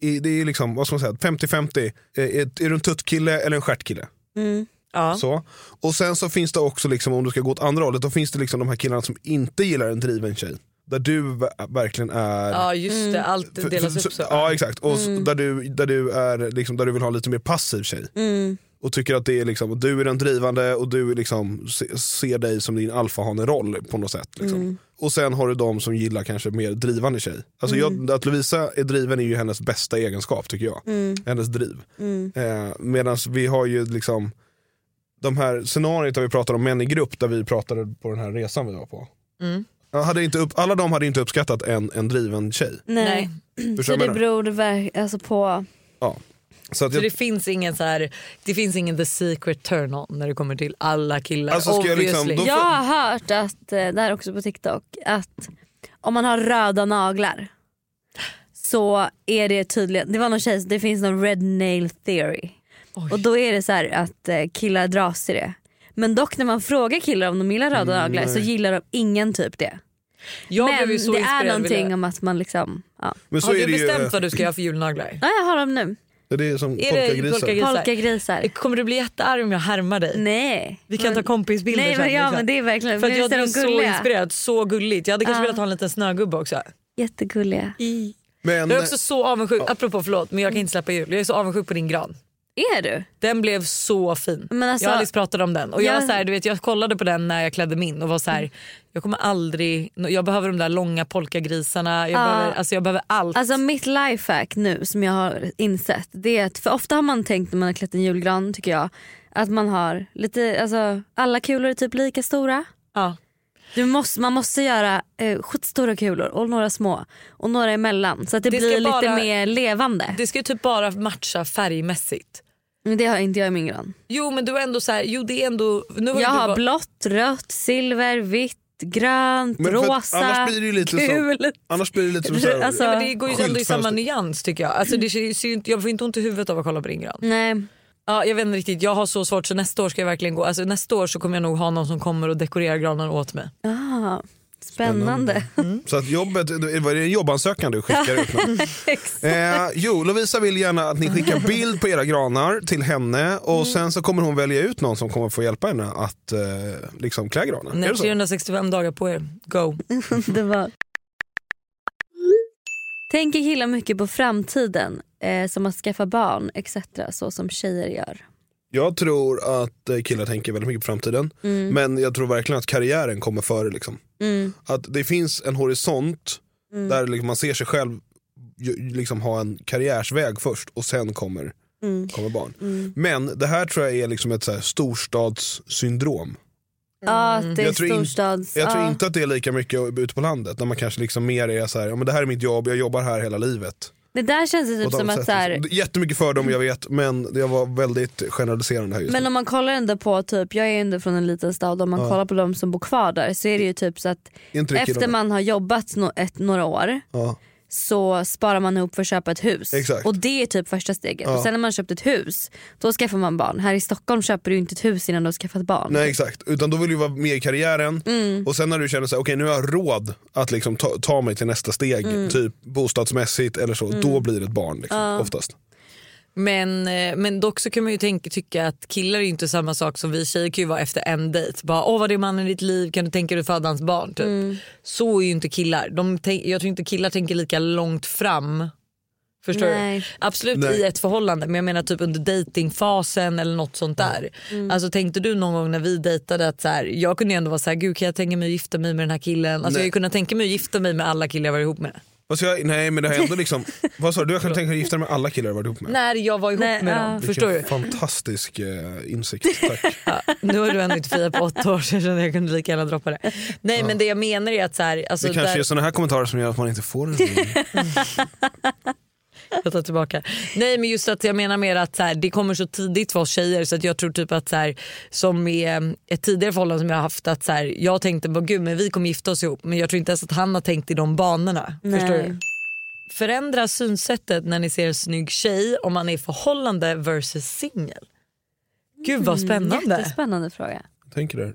Speaker 2: i- det är liksom, vad ska man säga, 50-50. Eh, Är, är du en tuttkille eller en stjärtkille?
Speaker 3: Mm,
Speaker 1: Ja.
Speaker 2: Så. Och sen så finns det också, liksom, om du ska gå åt andra hållet, då finns det liksom de här killarna som inte gillar en driven tjej. Där du ver- verkligen är...
Speaker 1: Ja just
Speaker 3: Mm.
Speaker 1: det, allt
Speaker 2: För-
Speaker 1: delas
Speaker 2: för-
Speaker 1: upp så. Mm.
Speaker 2: Ja exakt, och s- där, du, där, du är, liksom, där du vill ha en lite mer passiv tjej.
Speaker 3: mm,
Speaker 2: Och tycker att det är liksom, du är den drivande och du är liksom, se, ser dig som din alfahane-roll på något sätt. Liksom.
Speaker 1: Mm.
Speaker 2: Och sen har du de som gillar kanske mer drivande tjej. Alltså jag,
Speaker 1: Mm.
Speaker 2: att Lovisa är driven är ju hennes bästa egenskap tycker jag.
Speaker 3: mm,
Speaker 2: Hennes driv. Eh, Medan vi har ju liksom de här scenariot där vi pratar om män i grupp där vi pratade på den här resan vi var på.
Speaker 1: Mm.
Speaker 2: Jag Hade inte upp, alla de hade inte uppskattat en, en driven tjej.
Speaker 3: Nej. *clears throat*
Speaker 1: Nej.
Speaker 2: Förstår
Speaker 3: Så
Speaker 2: du vad jag
Speaker 3: det
Speaker 2: menar?
Speaker 3: beror ver- alltså på...
Speaker 2: Ja. Så att
Speaker 1: Så det
Speaker 2: jag,
Speaker 1: finns ingen så här, det finns ingen the secret turn on när det kommer till alla killar.
Speaker 2: Alltså, ska jag liksom-
Speaker 1: Obviously.
Speaker 2: då-
Speaker 3: Jag har hört att, eh, det här är också på TikTok, att om man har röda naglar så är det tydligen, det var någon tjej, det finns någon red nail theory.
Speaker 1: Oj.
Speaker 3: Och då är det så här att eh, killar dras till det. Men dock när man frågar killar om de gillar röda naglar så gillar de ingen typ det.
Speaker 1: jag
Speaker 3: Men
Speaker 1: blev ju så
Speaker 3: det är
Speaker 1: inspirerad,
Speaker 3: någonting
Speaker 1: Wille.
Speaker 3: om att man liksom, ja.
Speaker 2: men så
Speaker 1: Har
Speaker 2: är
Speaker 1: du
Speaker 2: det ju,
Speaker 1: bestämt vad du ska göra för julnaglar?
Speaker 3: Ja jag har dem nu.
Speaker 2: det är som
Speaker 1: Är det
Speaker 2: polkagrisar.
Speaker 1: polkagrisar?
Speaker 3: Polkagrisar.
Speaker 1: Kommer du bli jättearg om jag härmar dig?
Speaker 3: Mm. Nej.
Speaker 1: Vi kan
Speaker 3: Men-
Speaker 1: ta kompisbilder
Speaker 3: Nej men
Speaker 1: sen.
Speaker 3: ja
Speaker 1: liksom.
Speaker 3: men det är verkligen,
Speaker 1: För att jag
Speaker 3: visst är
Speaker 1: blev
Speaker 3: de
Speaker 1: så
Speaker 3: gulliga?
Speaker 1: inspirerad, så gulligt. Jag hade kanske
Speaker 3: Ja.
Speaker 1: velat ha en liten snögubbe också.
Speaker 3: Jättegulliga.
Speaker 2: Men,
Speaker 1: Jag är också så avundsjuk, apropå förlåt men jag kan inte släppa jul. Jag är så avundsjuk på din gran.
Speaker 3: Är du?
Speaker 1: Den blev så fin.
Speaker 3: Men alltså-
Speaker 1: jag och Alice pratade om den. Och jag,
Speaker 3: Ja.
Speaker 1: var så här, du vet, jag kollade på den när jag klädde min och var så här, jag kommer aldrig, jag behöver de där långa polkagrisarna, jag,
Speaker 3: Ja.
Speaker 1: behöver, alltså, jag behöver allt.
Speaker 3: Ah. Alltså mitt lifehack nu som jag har insett det är att för ofta har man tänkt när man har klätt en julgran tycker jag att man har lite, alltså alla kulor är typ lika stora.
Speaker 1: ja.
Speaker 3: Du måste, man måste göra eh, skitstora kulor och några små och några emellan så att det,
Speaker 1: Det ska
Speaker 3: blir
Speaker 1: bara-
Speaker 3: lite mer levande.
Speaker 1: Det ska ju typ bara matcha färgmässigt.
Speaker 3: Men det har inte jag i min gran.
Speaker 1: Jo men du är ändå så här, jo det är ändå... Nu har
Speaker 3: Jag
Speaker 1: du
Speaker 3: har
Speaker 1: bara-
Speaker 3: blått, rött, silver, vitt, grönt,
Speaker 2: Men för att
Speaker 3: rosa,
Speaker 2: annars blir det ju lite så-
Speaker 3: gult. *laughs*
Speaker 2: annars blir det lite som så här,
Speaker 3: Alltså-
Speaker 1: Nej, men det går ju ändå i samma
Speaker 2: Skyltfönster.
Speaker 1: nyans tycker jag. Alltså, det ser, ser ju inte, jag får inte ont i huvudet av att kolla på din gran.
Speaker 3: Nej.
Speaker 1: Ja, jag vet inte riktigt, jag har så svårt så nästa år ska jag verkligen gå. Alltså, nästa år så kommer jag nog ha någon som kommer och dekorerar granen åt mig.
Speaker 3: Ah, spännande.
Speaker 2: så att jobbet, var det en jobbansökan du skickade ut? nu?
Speaker 3: *laughs* Exakt.
Speaker 2: Eh, jo, Lovisa vill gärna att ni skickar bild på era granar till henne och sen så kommer hon välja ut någon som kommer få hjälpa henne att eh, liksom klä granen. Är
Speaker 1: Nej,
Speaker 2: det så?
Speaker 1: 365 dagar på er, go.
Speaker 3: Underbart. Tänker killar mycket på framtiden, eh, som att skaffa barn etc. så som tjejer gör.
Speaker 2: Jag tror att eh, killar tänker väldigt mycket på framtiden
Speaker 3: Mm.
Speaker 2: men jag tror verkligen att karriären kommer före. Liksom. Att det finns en horisont där liksom, man ser sig själv ju- liksom, ha en karriärsväg först och sen kommer, kommer barn. Men det här tror jag är liksom ett så här, storstadssyndrom.
Speaker 3: Ja, att det är
Speaker 2: Mm. Jag tror in-
Speaker 3: storstads...
Speaker 2: Jag tror
Speaker 3: ja.
Speaker 2: inte att det är lika mycket ute på landet. När man kanske liksom mer är så här, ja, men det här är mitt jobb, jag jobbar här hela livet.
Speaker 3: Det där känns det typ
Speaker 2: På de
Speaker 3: som att
Speaker 2: sätten.
Speaker 3: så här,
Speaker 2: liksom. Det är Jättemycket fördom jag vet men jag var väldigt generaliserande här just
Speaker 3: men
Speaker 2: nu.
Speaker 3: om man kollar ändå på, typ, jag är ändå från en liten stad, om man kollar på de som bor kvar där så är det ju typ så att
Speaker 2: Är Inte det
Speaker 3: efter
Speaker 2: killarna?
Speaker 3: man har jobbat no, ett, några år
Speaker 2: ja.
Speaker 3: så sparar man ihop för att köpa ett hus.
Speaker 2: Exakt.
Speaker 3: Och det är typ första steget.
Speaker 2: Ja.
Speaker 3: Och sen när man har köpt ett hus, då skaffar man barn. Här i Stockholm köper du inte ett hus innan du har skaffat barn.
Speaker 2: Nej exakt, utan då vill du vara med i karriären
Speaker 3: Mm.
Speaker 2: och sen när du känner så här, okej nu har jag råd att liksom ta, ta mig till nästa steg,
Speaker 3: Mm.
Speaker 2: typ bostadsmässigt eller så, då blir det ett barn liksom, oftast.
Speaker 1: Men, eh, men dock så kan man ju tänka, tycka att killar är ju inte samma sak som vi tjejer kan ju vara efter en dejt. Bara åh vad det är mannen i ditt liv, kan du tänka dig att föda hans barn? Typ.
Speaker 2: Mm.
Speaker 1: Så är ju inte killar. De tänk, jag tror inte killar tänker lika långt fram. Förstår
Speaker 3: Nej.
Speaker 1: du? Absolut
Speaker 2: Nej.
Speaker 1: i ett förhållande men jag menar typ under datingfasen eller något sånt där. Alltså tänkte du någon gång när vi dejtade att så här, jag kunde ju ändå vara så här, gud kan jag tänka mig att gifta mig med den här killen? Alltså
Speaker 2: Nej.
Speaker 1: jag kunde tänka mig att gifta mig med alla killar jag var ihop med.
Speaker 2: Vad ska jag, nej men det har ändå liksom,
Speaker 3: *laughs*
Speaker 2: vad sa du, du kan tänka dig gifta dig med alla killar du varit ihop med?
Speaker 1: När jag var ihop
Speaker 3: Nej,
Speaker 1: med
Speaker 3: ja.
Speaker 1: dem.
Speaker 2: Vilken
Speaker 1: Förstår du?
Speaker 2: fantastisk eh, insikt, tack.
Speaker 1: Ja, nu har du ändå inte firat på åtta år så jag kände att jag kunde lika gärna droppa det. Nej men det jag menar är att så här, alltså,
Speaker 2: Det kanske
Speaker 1: där,
Speaker 2: är såna här kommentarer som gör att man inte får en
Speaker 3: *laughs*
Speaker 2: ring.
Speaker 1: jag tar tillbaka. Nej men just att jag menar mer att så här, det kommer så tidigt för oss tjejer så att jag tror typ att så här, som i eh, ett tidigare förhållande som jag har haft att så här, jag tänkte bara gud men vi kommer gifta oss ihop men jag tror inte ens att han har tänkt i de banorna.
Speaker 3: Nej.
Speaker 1: Förstår du? Förändra synsättet när ni ser en snygg tjej om man är i förhållande versus singel. Gud vad spännande.
Speaker 3: Mm, Jättespännande fråga.
Speaker 2: Tänker du?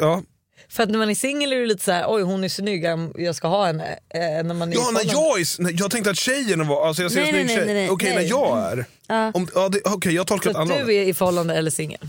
Speaker 2: Ja,
Speaker 1: För att när man är singel är det lite så här, oj hon är snygg, jag ska ha henne. Eh, när man är i
Speaker 2: Ja, när
Speaker 1: förhållande.
Speaker 2: jag, är, s- nej, jag tänkte att tjejen var... Alltså jag ser
Speaker 3: Nej,
Speaker 2: en snygg
Speaker 3: nej,
Speaker 2: tjej.
Speaker 3: nej, nej, nej.
Speaker 2: Okej, när
Speaker 3: Nej.
Speaker 2: jag är...
Speaker 3: Ja.
Speaker 2: Om, ja, det, okej, jag har
Speaker 1: Så
Speaker 2: tolkat
Speaker 1: att
Speaker 2: andra
Speaker 1: du
Speaker 2: hållet.
Speaker 1: är i förhållande eller singel.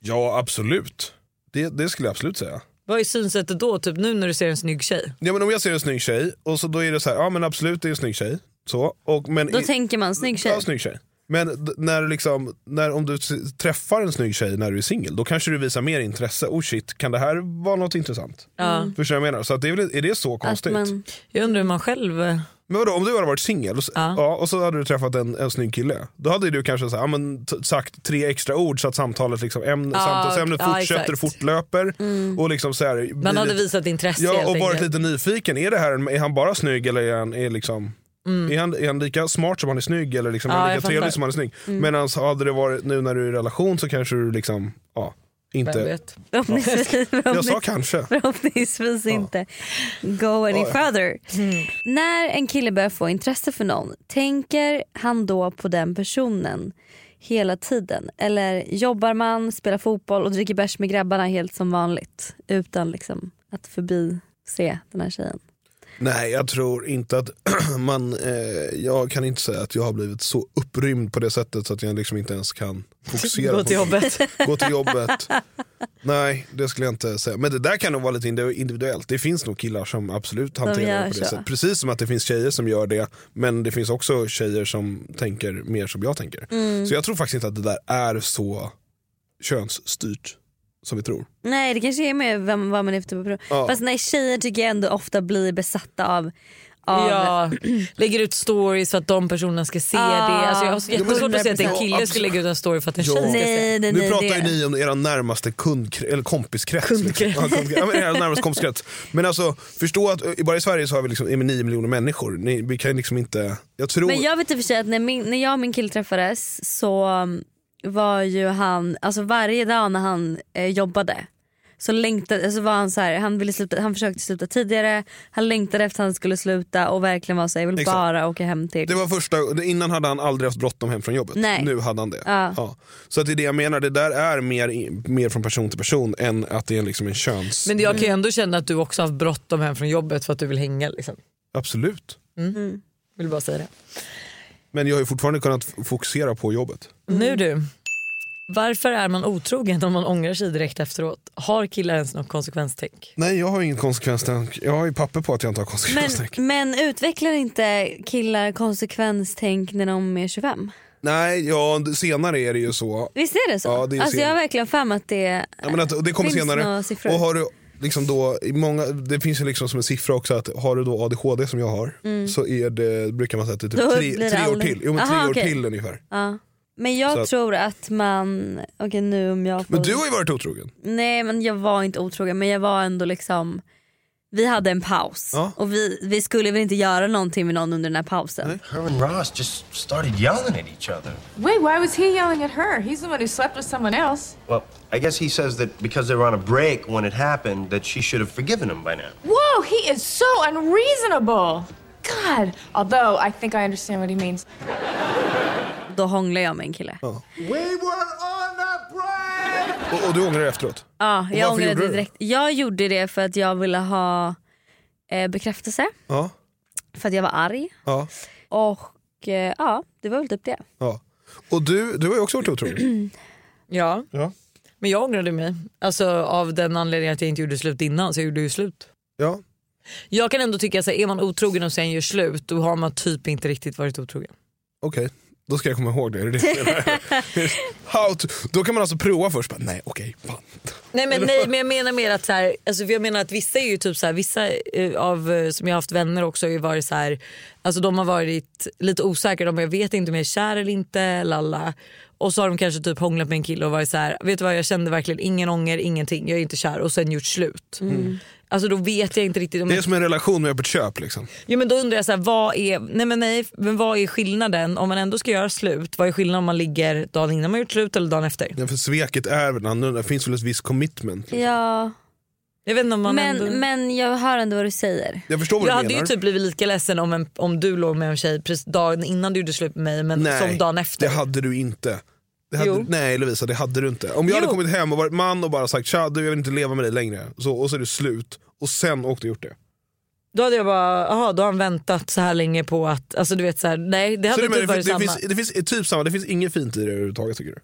Speaker 2: Ja, absolut. Det, det skulle jag absolut säga.
Speaker 1: Vad är synsättet då, typ nu när du ser en snygg tjej?
Speaker 2: Ja, men om jag ser en snygg tjej, och så, då är det så här, ja men absolut det är en snygg tjej. Så, och, men,
Speaker 3: Då
Speaker 2: i-
Speaker 3: tänker man snygg tjej.
Speaker 2: Ja, snygg tjej. Men d- när liksom, när, om du s- träffar en snygg tjej när du är singel, då kanske du visar mer intresse. Oh shit, kan det här vara något intressant?
Speaker 1: Ja.
Speaker 2: Förstår du vad jag menar? Så att det är, väl, är det så
Speaker 3: Att
Speaker 2: konstigt?
Speaker 3: man,
Speaker 1: Jag undrar hur man själv... eh,
Speaker 2: Men vadå, om du hade varit singel och, s-
Speaker 1: Ja.
Speaker 2: ja, och så hade du träffat en, en snygg kille. Då hade du kanske så här, ja, men, t- sagt tre extra ord så att samtalet liksom, ämne,
Speaker 1: Ja,
Speaker 2: samtalsämnet
Speaker 1: ja,
Speaker 2: fortsätter
Speaker 1: exakt. Mm.
Speaker 2: fortlöper.
Speaker 3: mm.
Speaker 2: Och liksom så här, blir
Speaker 1: Man hade
Speaker 2: lite-
Speaker 1: visat intresse
Speaker 2: ja,
Speaker 1: helt
Speaker 2: och varit
Speaker 1: enkelt.
Speaker 2: lite nyfiken. Är, det här, en- är han bara snygg eller är han, är liksom,
Speaker 1: Mm.
Speaker 2: är han, är han lika smart som han är snygg? Eller liksom,
Speaker 1: Ja,
Speaker 2: är han
Speaker 1: jag
Speaker 2: lika trevlig
Speaker 1: fattar. Mm.
Speaker 2: som han är snygg? Medan hade det varit nu när du är i relation så kanske du liksom, ja,
Speaker 1: Vem
Speaker 2: inte...
Speaker 1: vet?
Speaker 3: förhoppningsvis,
Speaker 2: Jag sa kanske.
Speaker 3: förhoppningsvis inte go any
Speaker 2: Ja, ja.
Speaker 3: further. När en kille börjar få intresse för någon, tänker han då på den personen hela tiden? Eller jobbar man, spelar fotboll och dricker bärs med grabbarna helt som vanligt utan liksom att förbi se den här tjejen?
Speaker 2: Nej, jag tror inte att *clears throat* man... Eh, jag kan inte säga att jag har blivit så upprymd på det sättet så att jag liksom inte ens kan fokusera
Speaker 1: Gå
Speaker 2: på
Speaker 1: till
Speaker 2: någonting.
Speaker 1: jobbet.
Speaker 2: Gå till jobbet. Nej, det skulle jag inte säga. Men det där kan nog vara lite indi- individuellt. Det finns nog killar som absolut hanterar
Speaker 3: gör
Speaker 2: det på det
Speaker 3: så.
Speaker 2: sättet. Precis som att det finns tjejer som gör det, men det finns också tjejer som tänker mer som jag tänker. Så jag tror faktiskt inte att det där är så könsstyrt som vi tror.
Speaker 3: Nej det kanske är med vem, vad man är ute på prov.
Speaker 2: Ja.
Speaker 3: Fast nej tjejer tycker jag ändå ofta blir besatta av, av
Speaker 1: *laughs* Ja, lägger ut stories så att de personerna ska se
Speaker 3: Ah.
Speaker 1: det. Alltså jag har så
Speaker 3: Jo, men-
Speaker 1: jättesvårt att se att en
Speaker 2: Ja,
Speaker 1: kille skulle
Speaker 2: absolut.
Speaker 1: lägga ut en story för att en
Speaker 2: Ja.
Speaker 1: tjej ska se.
Speaker 3: Nej, nej,
Speaker 2: nu
Speaker 3: nej,
Speaker 2: pratar
Speaker 3: det-
Speaker 2: ju ni om era närmaste kund, eller kompiskrets.
Speaker 1: Kundkrets.
Speaker 2: Liksom. Ja, kundkrets. Ja, men era närmaste kompiskrets. Men alltså, förstå att eh, bara i Sverige så har vi liksom, är vi 9 miljoner människor. Ni, vi kan ju liksom inte... Jag tror...
Speaker 3: Men jag vet i och för sig att när, min, när jag och min kille träffades så um, var ju han, alltså varje dag när han eh, jobbade så längtade, alltså var han så här, han, ville sluta, han försökte sluta tidigare, han längtade efter att han skulle sluta och verkligen var så här, jag vill
Speaker 2: Exakt.
Speaker 3: bara åka hem till.
Speaker 2: Det var första, innan hade han aldrig haft bråttom hem från jobbet.
Speaker 3: Nej.
Speaker 2: Nu hade han det.
Speaker 3: Ja.
Speaker 2: Så att det är det jag menar, det där är mer, i- mer från person till person än att det är liksom en köns...
Speaker 1: Men jag kan ju ändå känna att du också har haft bråttom hem från jobbet för att du vill hänga. Liksom.
Speaker 2: Mm. Absolut.
Speaker 1: Vill bara säga det.
Speaker 2: Men jag har ju fortfarande kunnat f- fokusera på jobbet.
Speaker 1: Nu du. Varför är man otrogen om man ångrar sig direkt efteråt? Har killar ens något konsekvenstänk?
Speaker 2: Nej jag har inget konsekvenstänk. Jag har ju papper på att jag inte har
Speaker 3: men,
Speaker 2: konsekvenstänk.
Speaker 3: men utvecklar inte killar konsekvenstänk när de är 25?
Speaker 2: Nej, ja, senare är det ju så.
Speaker 3: Visst är det så?
Speaker 2: Ja, det är
Speaker 3: alltså
Speaker 2: sen-
Speaker 3: jag har verkligen fram att det,
Speaker 2: Ja, men att, det kommer
Speaker 3: finns
Speaker 2: senare.
Speaker 3: några siffror.
Speaker 2: Och har du liksom då, i många, det finns ju liksom som en siffra också att har du då ADHD som jag har så är det, brukar man säga att det är
Speaker 3: Mm. Då
Speaker 2: typ tre,
Speaker 3: blir det
Speaker 2: tre år
Speaker 3: aldrig-
Speaker 2: till. Jo, men tre
Speaker 3: Aha,
Speaker 2: år
Speaker 3: okej.
Speaker 2: till ungefär.
Speaker 3: ja. Men
Speaker 2: Så
Speaker 3: jag
Speaker 2: att-
Speaker 3: tror att man, okej nu om jag får...
Speaker 2: Men du har ju varit otrogen.
Speaker 3: Nej men jag var inte otrogen men jag var ändå liksom vi hade en paus
Speaker 2: Ja.
Speaker 3: och vi, vi skulle väl inte göra någonting med någon under den här pausen.
Speaker 4: Her and Ross just started yelling at each other.
Speaker 5: Wait, why was he yelling at her? He's the one who slept with someone else.
Speaker 4: Well, I guess he says that because they were on a break when it happened, that she should have forgiven him by now.
Speaker 5: Whoa, he is so unreasonable. God. Although I think I understand what he means.
Speaker 3: Då hånglar jag med en kille. Ja,
Speaker 4: We were on a break!
Speaker 2: Och, och du ångrar dig efteråt? Och
Speaker 3: jag
Speaker 2: varför
Speaker 3: ångrade
Speaker 2: gjorde
Speaker 3: det
Speaker 2: du det?
Speaker 3: direkt. Jag gjorde det för att jag ville ha eh, bekräftelse,
Speaker 2: Ja.
Speaker 3: för att jag var arg.
Speaker 2: ja,
Speaker 3: Och eh, ja, det var väl typ det.
Speaker 2: ja. Och du, du har ju också varit
Speaker 3: *clears throat*
Speaker 2: otrolig.
Speaker 1: Ja,
Speaker 2: Ja.
Speaker 1: men jag ångrade mig. Alltså av den anledningen att jag inte gjorde slut innan så jag gjorde ju slut.
Speaker 2: Ja.
Speaker 1: Jag kan ändå tycka att är man otrogen och sen gör slut då har man typ inte riktigt varit otrogen.
Speaker 2: Okej, då ska jag komma
Speaker 3: *laughs*
Speaker 2: ihåg det. *laughs* Är det det du menar? How to, då kan man alltså prova först. Bara, nej, okej, fan.
Speaker 1: Nej men, nej, men jag menar mer att så här, alltså, för jag menar att vissa är ju typ så här, vissa eh, av eh, som jag har haft vänner också har ju varit så här, alltså de har varit lite osäkra, de bara, jag vet inte om jag är kär eller inte, lalla. Och så har de kanske typ hånglat med en kille och varit så här, vet du vad jag kände verkligen ingen ånger, ingenting, jag är inte kär och sen gjort slut. Alltså då vet jag inte riktigt om
Speaker 2: Mm. Det
Speaker 1: jag
Speaker 2: är som en relation med öppet köp. Liksom.
Speaker 1: Jo, men då undrar jag så här, vad är, nej men nej, men vad är skillnaden om man ändå ska göra slut? Vad är skillnaden om man ligger dagen innan man gjort slut eller dagen efter?
Speaker 2: Ja, för sveket är väl annorlunda. Det finns väl ett visst commitment.
Speaker 3: Ja,
Speaker 1: Jag vet inte om man
Speaker 3: men,
Speaker 1: ändå...
Speaker 3: men jag hör ändå vad du säger.
Speaker 2: Jag förstår vad
Speaker 1: jag
Speaker 2: du
Speaker 1: hade
Speaker 2: menar.
Speaker 1: ju typ blivit lika ledsen om, en, om du låg med en tjej precis dagen innan du gjorde slut med mig men
Speaker 2: nej,
Speaker 1: som dagen efter.
Speaker 2: det hade du inte. Det hade,
Speaker 1: Jo.
Speaker 2: nej Lovisa, det hade du inte. Om jag hade
Speaker 1: Jo.
Speaker 2: kommit hem och varit man och bara sagt tja, du, jag vill inte leva med dig längre. Så, och så är det slut. Och sen åkte och gjort det.
Speaker 1: Då hade jag bara, jaha då har han väntat så här länge på att, alltså du vet så här, nej det
Speaker 2: Så
Speaker 1: hade
Speaker 2: du
Speaker 1: typ
Speaker 2: menar, det, fin-
Speaker 1: varit samma.
Speaker 2: det, finns, det finns är typ samma, det finns inget fint i det överhuvudtaget tycker du?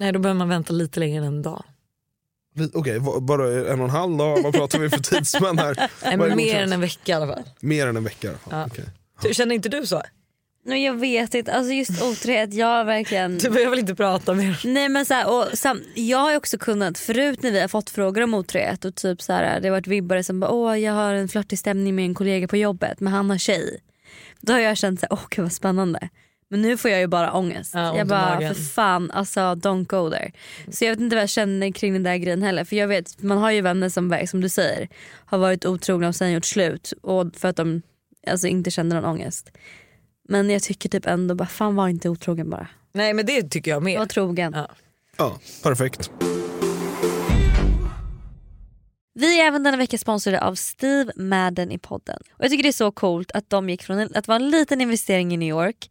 Speaker 1: Nej då behöver man vänta lite längre än en dag.
Speaker 2: Vi- Okej, va- bara en och en halv dag? Vad pratar
Speaker 1: *laughs*
Speaker 2: vi för tidsspann här?
Speaker 1: Nej,
Speaker 2: Vad är
Speaker 1: men mer
Speaker 2: godkänt?
Speaker 1: än en vecka i alla fall.
Speaker 2: Mer än en vecka? Ja.
Speaker 1: Ja.
Speaker 2: okej.
Speaker 1: Ty- Känner inte du så?
Speaker 3: Men jag vet inte, alltså just otrohet,
Speaker 2: *laughs*
Speaker 3: jag verkligen...
Speaker 1: Du behöver Typ, inte prata mer.
Speaker 3: Nej men så här, och sam, jag har ju också kunnat, förut när vi har fått frågor om otrohet och typ så här, det har varit vibbare som bara åh jag har en flörtig stämning med en kollega på jobbet men han har tjej. Då har jag känt så här, åh gud vad spännande. Men nu får jag ju bara ångest.
Speaker 1: Ja, ont
Speaker 3: jag
Speaker 1: i
Speaker 3: bara
Speaker 1: magen.
Speaker 3: för fan alltså don't go there. Så jag vet inte vad jag känner kring den där grejen heller för jag vet, man har ju vänner som som du säger har varit otrogna och sen gjort slut och för att de alltså, inte känner någon ångest. Men jag tycker typ ändå bara fan var inte otrogen bara.
Speaker 1: Nej men det tycker jag
Speaker 3: Var
Speaker 1: mer.
Speaker 3: trogen.
Speaker 1: Ja.
Speaker 2: Ja, perfekt.
Speaker 3: Vi är även denna vecka sponsrade av Steve Madden i podden. Och jag tycker det är så coolt att de gick från en, att vara en liten investering i New York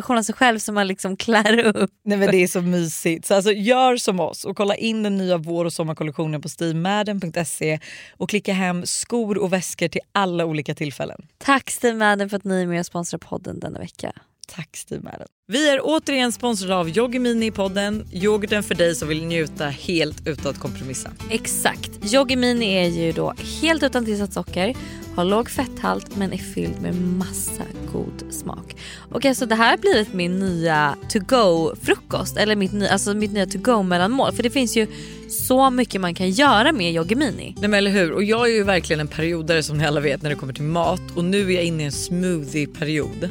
Speaker 3: av sig själv som man liksom *laughs* klär upp.
Speaker 1: Nej men det är så mysigt. Så alltså, gör som oss och kolla in den nya vår och sommarkollektionen på steamadden.se och klicka hem skor och väskor till alla olika tillfällen.
Speaker 3: Tack Steve Madden för att ni är med och sponsrar podden denna vecka.
Speaker 1: Tack Steve Madden. Vi är återigen sponsrade av Yoggi Mini i podden. Yoghurten för dig som vill njuta helt utan att kompromissa.
Speaker 3: Exakt. Yoggi Mini är ju då helt utan tillsatt socker, har låg fetthalt men är fylld med massa god smak. Och alltså det här har blivit min nya to-go-frukost, eller mitt, ny, alltså mitt nya to-go-mellanmål. För det finns ju så mycket man kan göra med Yoggi Mini.
Speaker 1: Nej men eller hur? Och jag är ju verkligen en periodare som ni alla vet när det kommer till mat och nu är jag inne i en smoothie-period.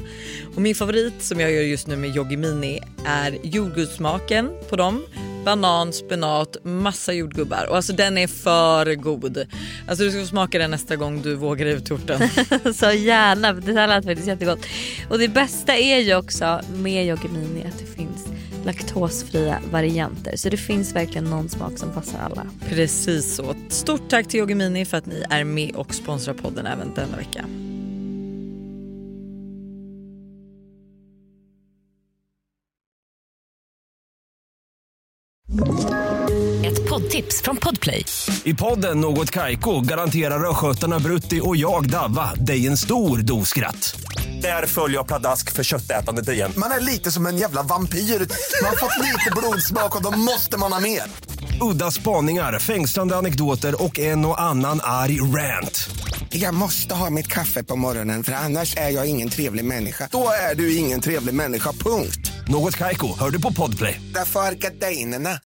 Speaker 1: Och min favorit som jag gör just nu med Yoggi Mini är jordgubbssmaken på dem. Banan, spenat, massa jordgubbar och alltså den är för god. Alltså du ska få smaka den nästa gång du vågar ut *laughs* hjorten.
Speaker 3: *laughs* Så gärna, för det här lät faktiskt jättegott. Och det bästa är ju också med Yoggi Mini att det finns laktosfria varianter. Så det finns verkligen någon smak som passar alla.
Speaker 1: Precis så. Stort tack till Yoggi Mini för att ni är med och sponsrar podden även denna vecka.
Speaker 6: Ett poddtips från Podplay.
Speaker 7: I podden Något Kaiko garanterar östgötarna Brutti och jag, Davva, dig en stor dos skratt. Där följer jag pladask för köttätandet igen.
Speaker 8: Man är lite som en jävla vampyr. Man har fått lite blodsmak och då måste man ha mer.
Speaker 7: Udda spaningar, fängslande anekdoter och en och annan arg rant.
Speaker 9: Jag måste ha mitt kaffe på morgonen för annars är jag ingen trevlig människa.
Speaker 8: Då är du ingen trevlig människa, punkt.
Speaker 7: Något Kaiko, hör du på podplay.
Speaker 8: Därför är gardinerna.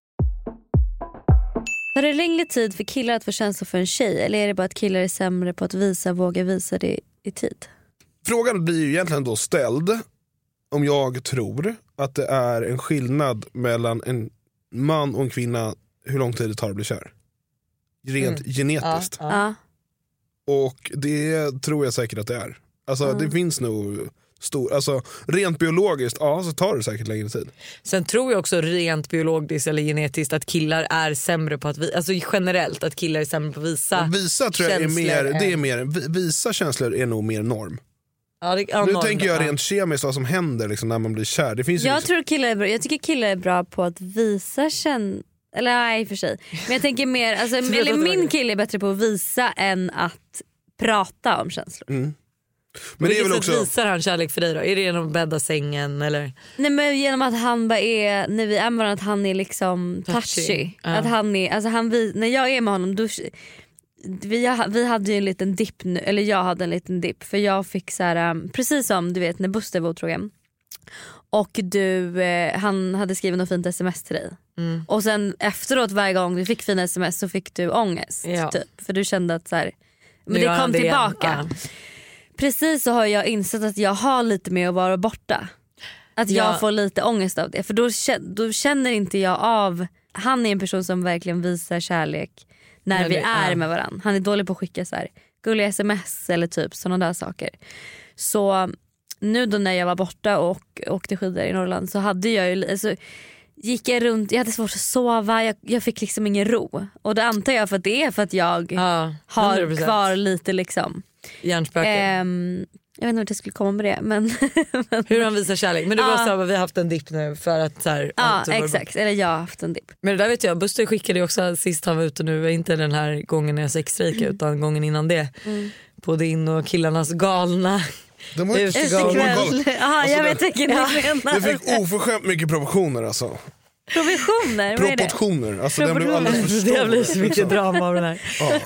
Speaker 3: Tar det längre tid för killar att få känslor för en tjej eller är det bara att killar är sämre på att visa, våga visa det i tid?
Speaker 2: Frågan blir ju egentligen då ställd om jag tror att det är en skillnad mellan en man och en kvinna hur lång tid det tar att bli kär. Rent genetiskt.
Speaker 3: Ja.
Speaker 2: Och det tror jag säkert att det är. Alltså det finns nog stor, alltså, rent biologiskt ja, så tar det säkert längre tid.
Speaker 1: Sen tror jag också rent biologiskt eller genetiskt att killar är sämre på att visa, alltså generellt att killar är sämre på att visa.
Speaker 2: Och visa tror jag är
Speaker 1: känslor
Speaker 2: mer, det är mer, vi- visa känslor är nog mer norm.
Speaker 1: Ja, det, ja,
Speaker 2: Nu
Speaker 1: norm,
Speaker 2: tänker jag
Speaker 1: ja.
Speaker 2: rent kemiskt vad som händer liksom, när man blir kär. Det finns ju
Speaker 3: Jag,
Speaker 2: liksom,
Speaker 3: tror killar är bra, jag tycker killar är bra på att visa känn... Eller nej i och för sig. Men jag tänker mer, alltså,
Speaker 1: Sluta
Speaker 3: eller min
Speaker 1: dra.
Speaker 3: kille är bättre på att visa än att prata om känslor.
Speaker 2: men det är
Speaker 1: Vilket
Speaker 2: väl
Speaker 1: sätt
Speaker 2: också,
Speaker 1: visar han kärlek för dig då? Är det genom att bädda sängen eller?
Speaker 3: Nej, men genom att han bara är, när vi är med varandra, att han är liksom touchy.
Speaker 1: Touchy. Ja.
Speaker 3: Att han är, alltså han, vi, när jag är med honom, då, vi, ha- vi hade ju en liten dipp nu, eller jag hade en liten dipp för jag fick så här, um, precis som du vet när Buster var otrogen och du, eh, han hade skrivit något fint sms till dig.
Speaker 1: Mm.
Speaker 3: Och sen efteråt varje gång du fick fina sms så fick du ångest.
Speaker 1: Ja.
Speaker 3: Typ, för du kände att så här, men
Speaker 1: Nu gör
Speaker 3: det
Speaker 1: han
Speaker 3: kom
Speaker 1: det igen.
Speaker 3: tillbaka.
Speaker 1: Ja.
Speaker 3: Precis så har jag insett att jag har lite med att vara borta. Att jag
Speaker 1: Ja.
Speaker 3: får lite ångest av det. För då, kä- då känner inte jag av... Han är en person som verkligen visar kärlek när
Speaker 1: När
Speaker 3: vi
Speaker 1: vi-
Speaker 3: är
Speaker 1: ja.
Speaker 3: med varandra. Han är dålig på att skicka så här, gulliga sms eller typ sådana där saker. Så nu då när jag var borta och åkte skidor i Norrland så hade jag ju... li- Alltså, gick jag runt, jag hade svårt att sova, jag, jag fick liksom ingen ro. Och det antar jag för att det är för att jag
Speaker 1: Ja,
Speaker 3: har
Speaker 1: 100%.
Speaker 3: kvar lite liksom...
Speaker 1: hjärnspöken.
Speaker 3: Ehm, jag vet inte vart jag skulle komma med det. Men, men
Speaker 1: Hur han visar kärlek. Men det
Speaker 3: Ja.
Speaker 1: var så här, vi har haft en dipp nu för att så här,
Speaker 3: *laughs*
Speaker 2: typ
Speaker 3: ja,
Speaker 1: allt var-
Speaker 3: exakt. Eller jag har haft en dipp.
Speaker 1: Men det där vet jag, Buster skickade ju också sist han var ute nu, inte den här gången när jag sexstrejkade
Speaker 3: Mm.
Speaker 1: utan gången innan det. På din och killarnas galna
Speaker 2: de har ju
Speaker 1: Utegång.
Speaker 2: de har ju
Speaker 1: Utekväll.
Speaker 2: koll.
Speaker 3: Ja, jag vet vilken du menar.
Speaker 2: Det fick oförskämt mycket proportioner alltså.
Speaker 3: Provisioner, vad är det?
Speaker 2: Proportioner. Alltså, den blev alldeles för stor.
Speaker 1: *laughs* Det blir så mycket
Speaker 2: liksom.
Speaker 1: drama av den här.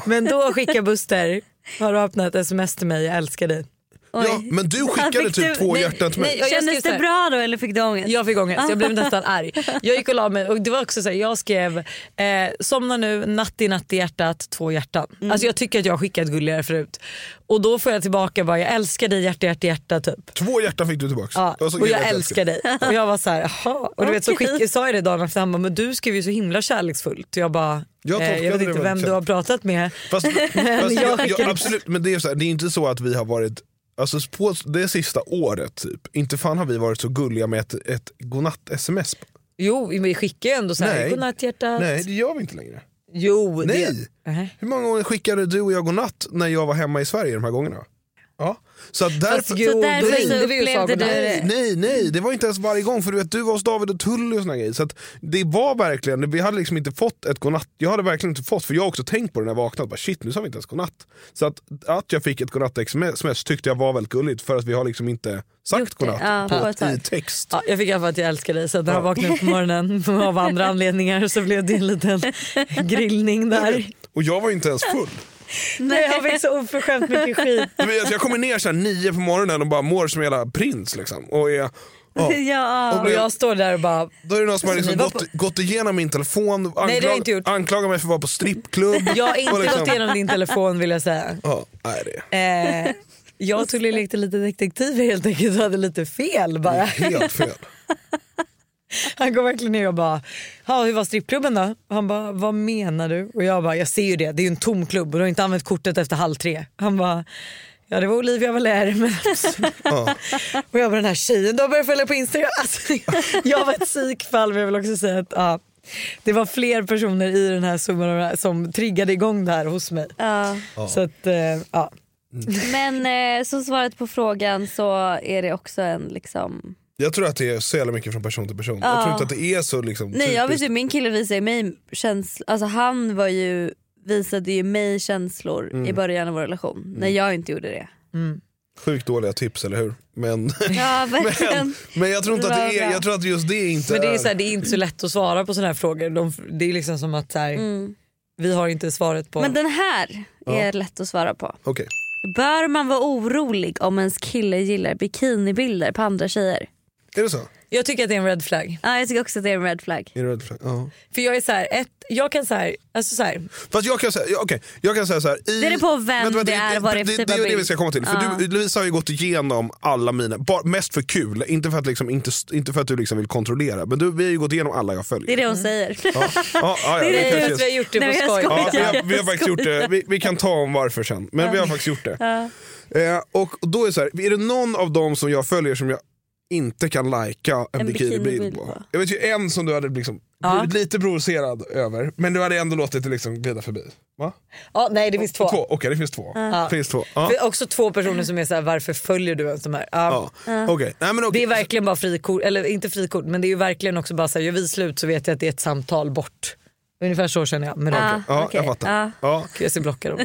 Speaker 1: Men då skickar Buster, har du öppnat ett sms till mig, jag älskar dig.
Speaker 3: Oj.
Speaker 2: Ja, men du skickade
Speaker 3: Fick
Speaker 2: typ
Speaker 3: du-
Speaker 2: två
Speaker 3: nej,
Speaker 2: hjärtan till mig.
Speaker 1: nej, jag-
Speaker 3: Kändes
Speaker 1: ska säga-
Speaker 3: det bra då eller fick du ångest?
Speaker 1: Jag fick ångest,
Speaker 2: *laughs*
Speaker 1: jag blev nästan arg. Jag gick och la mig och det var också så här, jag skrev eh, somna nu, natt i natt i hjärtat, två hjärtan.
Speaker 2: Mm.
Speaker 1: Alltså jag tycker att jag har skickat gulligare förut. Och då får jag tillbaka bara jag älskar dig hjärta hjärta hjärta typ.
Speaker 2: Två hjärtan fick du tillbaka.
Speaker 1: Ja,
Speaker 2: Det var så
Speaker 1: och
Speaker 2: illa att
Speaker 1: jag älskar dig. Och jag var så här, jaha. Och du vet så
Speaker 3: Okej.
Speaker 1: skick, sa jag det dagen efter han bara, men du skrev ju så himla kärleksfullt. Och jag bara,
Speaker 2: Jag
Speaker 1: jag, eh,
Speaker 2: tolkade
Speaker 1: jag vet
Speaker 2: det typ.
Speaker 1: inte
Speaker 2: väldigt
Speaker 1: vem du har
Speaker 2: kärleksfullt.
Speaker 1: pratat med.
Speaker 2: Fast, fast
Speaker 1: jag
Speaker 2: jag, jag,
Speaker 1: skickade-
Speaker 2: absolut, men det är, så här, det är inte så att vi har varit, alltså på det sista året typ, inte fan har vi varit så gulliga med ett, ett godnatt-sms.
Speaker 1: Jo vi skickar ju ändå så här,
Speaker 2: Nej.
Speaker 1: godnatt hjärtat.
Speaker 2: Nej det gör vi inte längre.
Speaker 1: Jo,
Speaker 2: Nej.
Speaker 1: Det, Nej.
Speaker 2: Hur många gånger skickade du och jag godnatt när jag var hemma i Sverige de här gångerna? Ja. Så att
Speaker 1: Fast
Speaker 2: därför,
Speaker 1: jo, då
Speaker 3: därför så
Speaker 1: ringde vi ju och sa
Speaker 3: upplevde
Speaker 1: godnatt.
Speaker 3: du-
Speaker 2: Nej, nej, nej, det var inte ens varje gång. För du vet, du var hos David och Tully och såna grejer. Så att det var verkligen, vi hade liksom inte fått ett godnatt. Jag hade verkligen inte fått, för jag har också tänkt på det när jag vaknade. Bara, shit, nu sa vi inte ens godnatt. Så att, att jag fick ett godnatt-sms tyckte jag var väldigt gulligt. För att vi har liksom inte
Speaker 3: Gjort
Speaker 2: sagt
Speaker 3: det,
Speaker 2: godnatt
Speaker 3: ja, på ett
Speaker 2: på,
Speaker 3: tag.
Speaker 2: i text.
Speaker 1: Ja, jag fick i alla fall att jag älskar dig så att när jag vaknade upp på morgonen *laughs* av andra anledningar så blev det en *laughs* liten grillning där.
Speaker 2: Och jag var ju inte ens full.
Speaker 1: Nej, jag fick så oförskämt mycket skit.
Speaker 2: Du vet, jag kommer ner så här nio på morgonen och bara mår som en jävla prins. Liksom, och
Speaker 1: *laughs*
Speaker 2: är, ja.
Speaker 3: ja.
Speaker 1: Och jag står där och bara,
Speaker 2: Då är det någon som har liksom
Speaker 1: Alltså, ni var på-
Speaker 2: gått, gått igenom min telefon, anklag,
Speaker 1: Nej, det har jag inte gjort.
Speaker 2: anklagar mig för att vara på strippklubb.
Speaker 1: jag har inte
Speaker 2: och liksom-
Speaker 1: gått igenom din telefon vill jag säga.
Speaker 2: Ja, nej, det.
Speaker 1: Eh, jag och Tully lekte lite detektiv helt enkelt och hade lite fel
Speaker 2: Det är
Speaker 1: bara.
Speaker 2: helt fel.
Speaker 1: Han går verkligen ner och bara, "Ja, hur var strippklubben då? Och Han bara, vad menar du? Och jag bara, jag ser ju det, det är ju en tom klubb och du har inte använt kortet efter halv tre. Han bara, ja det var Olivia Valère men absolut." Och jag bara, den här tjejen du har börjat följa på Instagram. *laughs* Alltså, jag var ett psykfall men jag vill också säga att ja, det var fler personer i den här summan av det här som triggade igång det här hos mig.
Speaker 3: Ja.
Speaker 1: Så att, eh, ja.
Speaker 3: Men eh, som svaret på frågan så är det också en liksom...
Speaker 2: Jag tror att det är så jävla mycket från person till person. Jag tror inte att det är så liksom,
Speaker 3: Nej jag vet
Speaker 2: typiskt.
Speaker 3: ju min kille visar ju mig känslor, alltså han var
Speaker 2: Mm.
Speaker 3: ju, visade ju mig känslor i början av vår relation när jag inte gjorde det.
Speaker 2: Sjukt dåliga tips, eller hur? Men, *laughs*
Speaker 3: Ja, verkligen.
Speaker 2: men, men jag tror inte att
Speaker 3: Det
Speaker 2: det
Speaker 3: var
Speaker 2: är,
Speaker 3: bra.
Speaker 2: jag tror att just det inte
Speaker 1: Men det är, så här, det är inte så lätt att svara på sådana här frågor. De, det är liksom som att så här, vi har inte svaret på...
Speaker 3: Men den här är lätt att svara på.
Speaker 2: Okej.
Speaker 3: Bör man vara orolig om ens kille gillar bikinibilder på andra tjejer?
Speaker 2: Är det så?
Speaker 1: Jag tycker att det är en red flag.
Speaker 3: Ja, jag tycker också att det är en red flag.
Speaker 2: Är det red flag? Ja.
Speaker 1: För jag är så här, ett, jag kan så här, alltså så här,
Speaker 2: Fast jag kan säga, ja, okej, jag kan säga så här. I,
Speaker 3: Det är det på vem det är, vad det är för
Speaker 2: det,
Speaker 3: typ
Speaker 2: det,
Speaker 3: av
Speaker 2: är det vi
Speaker 3: bild.
Speaker 2: ska komma till. För du, Lovisa har ju gått igenom alla mina, bara, mest för kul. Inte för att, liksom, inte, inte för att du liksom vill kontrollera. Men du, vi har ju gått igenom alla jag följer.
Speaker 3: Det är det hon säger.
Speaker 2: Ja, ja, ja,
Speaker 3: *laughs* Det är
Speaker 2: det
Speaker 3: det
Speaker 2: kanske
Speaker 1: att vi har gjort det
Speaker 3: Nej,
Speaker 1: på
Speaker 3: men jag
Speaker 1: skoj.
Speaker 3: skojar.
Speaker 2: Ja, vi, har, vi har
Speaker 3: Jag
Speaker 2: faktiskt gjort det. Vi, vi kan ta om varför sen. Men vi har faktiskt gjort det. Eh, och då är, det så här, är det någon av dem som jag följer som jag inte kan lajka en,
Speaker 3: En
Speaker 2: bikinibild
Speaker 3: bikinibild
Speaker 2: på?
Speaker 3: på.
Speaker 2: Jag vet ju en som du hade liksom blivit lite provocerad över, men du hade ändå låtit det liksom glida förbi. Va?
Speaker 1: Ja, nej det finns två.
Speaker 2: Okej, det finns två. Finns två. Ja.
Speaker 1: För också två personer som är så här, varför följer du ens de här? Ja.
Speaker 2: Ja. Okej. Nej, men
Speaker 1: Det
Speaker 2: okej.
Speaker 1: är verkligen bara frikort, eller inte frikort men det är ju verkligen också bara så här, gör vi slut så vet jag att det är ett samtal bort. Ungefär så känner jag med dem.
Speaker 2: Ja,
Speaker 3: Okej,
Speaker 2: jag fattar.
Speaker 3: ja.
Speaker 2: Ja.
Speaker 1: Jag ser blockar dem.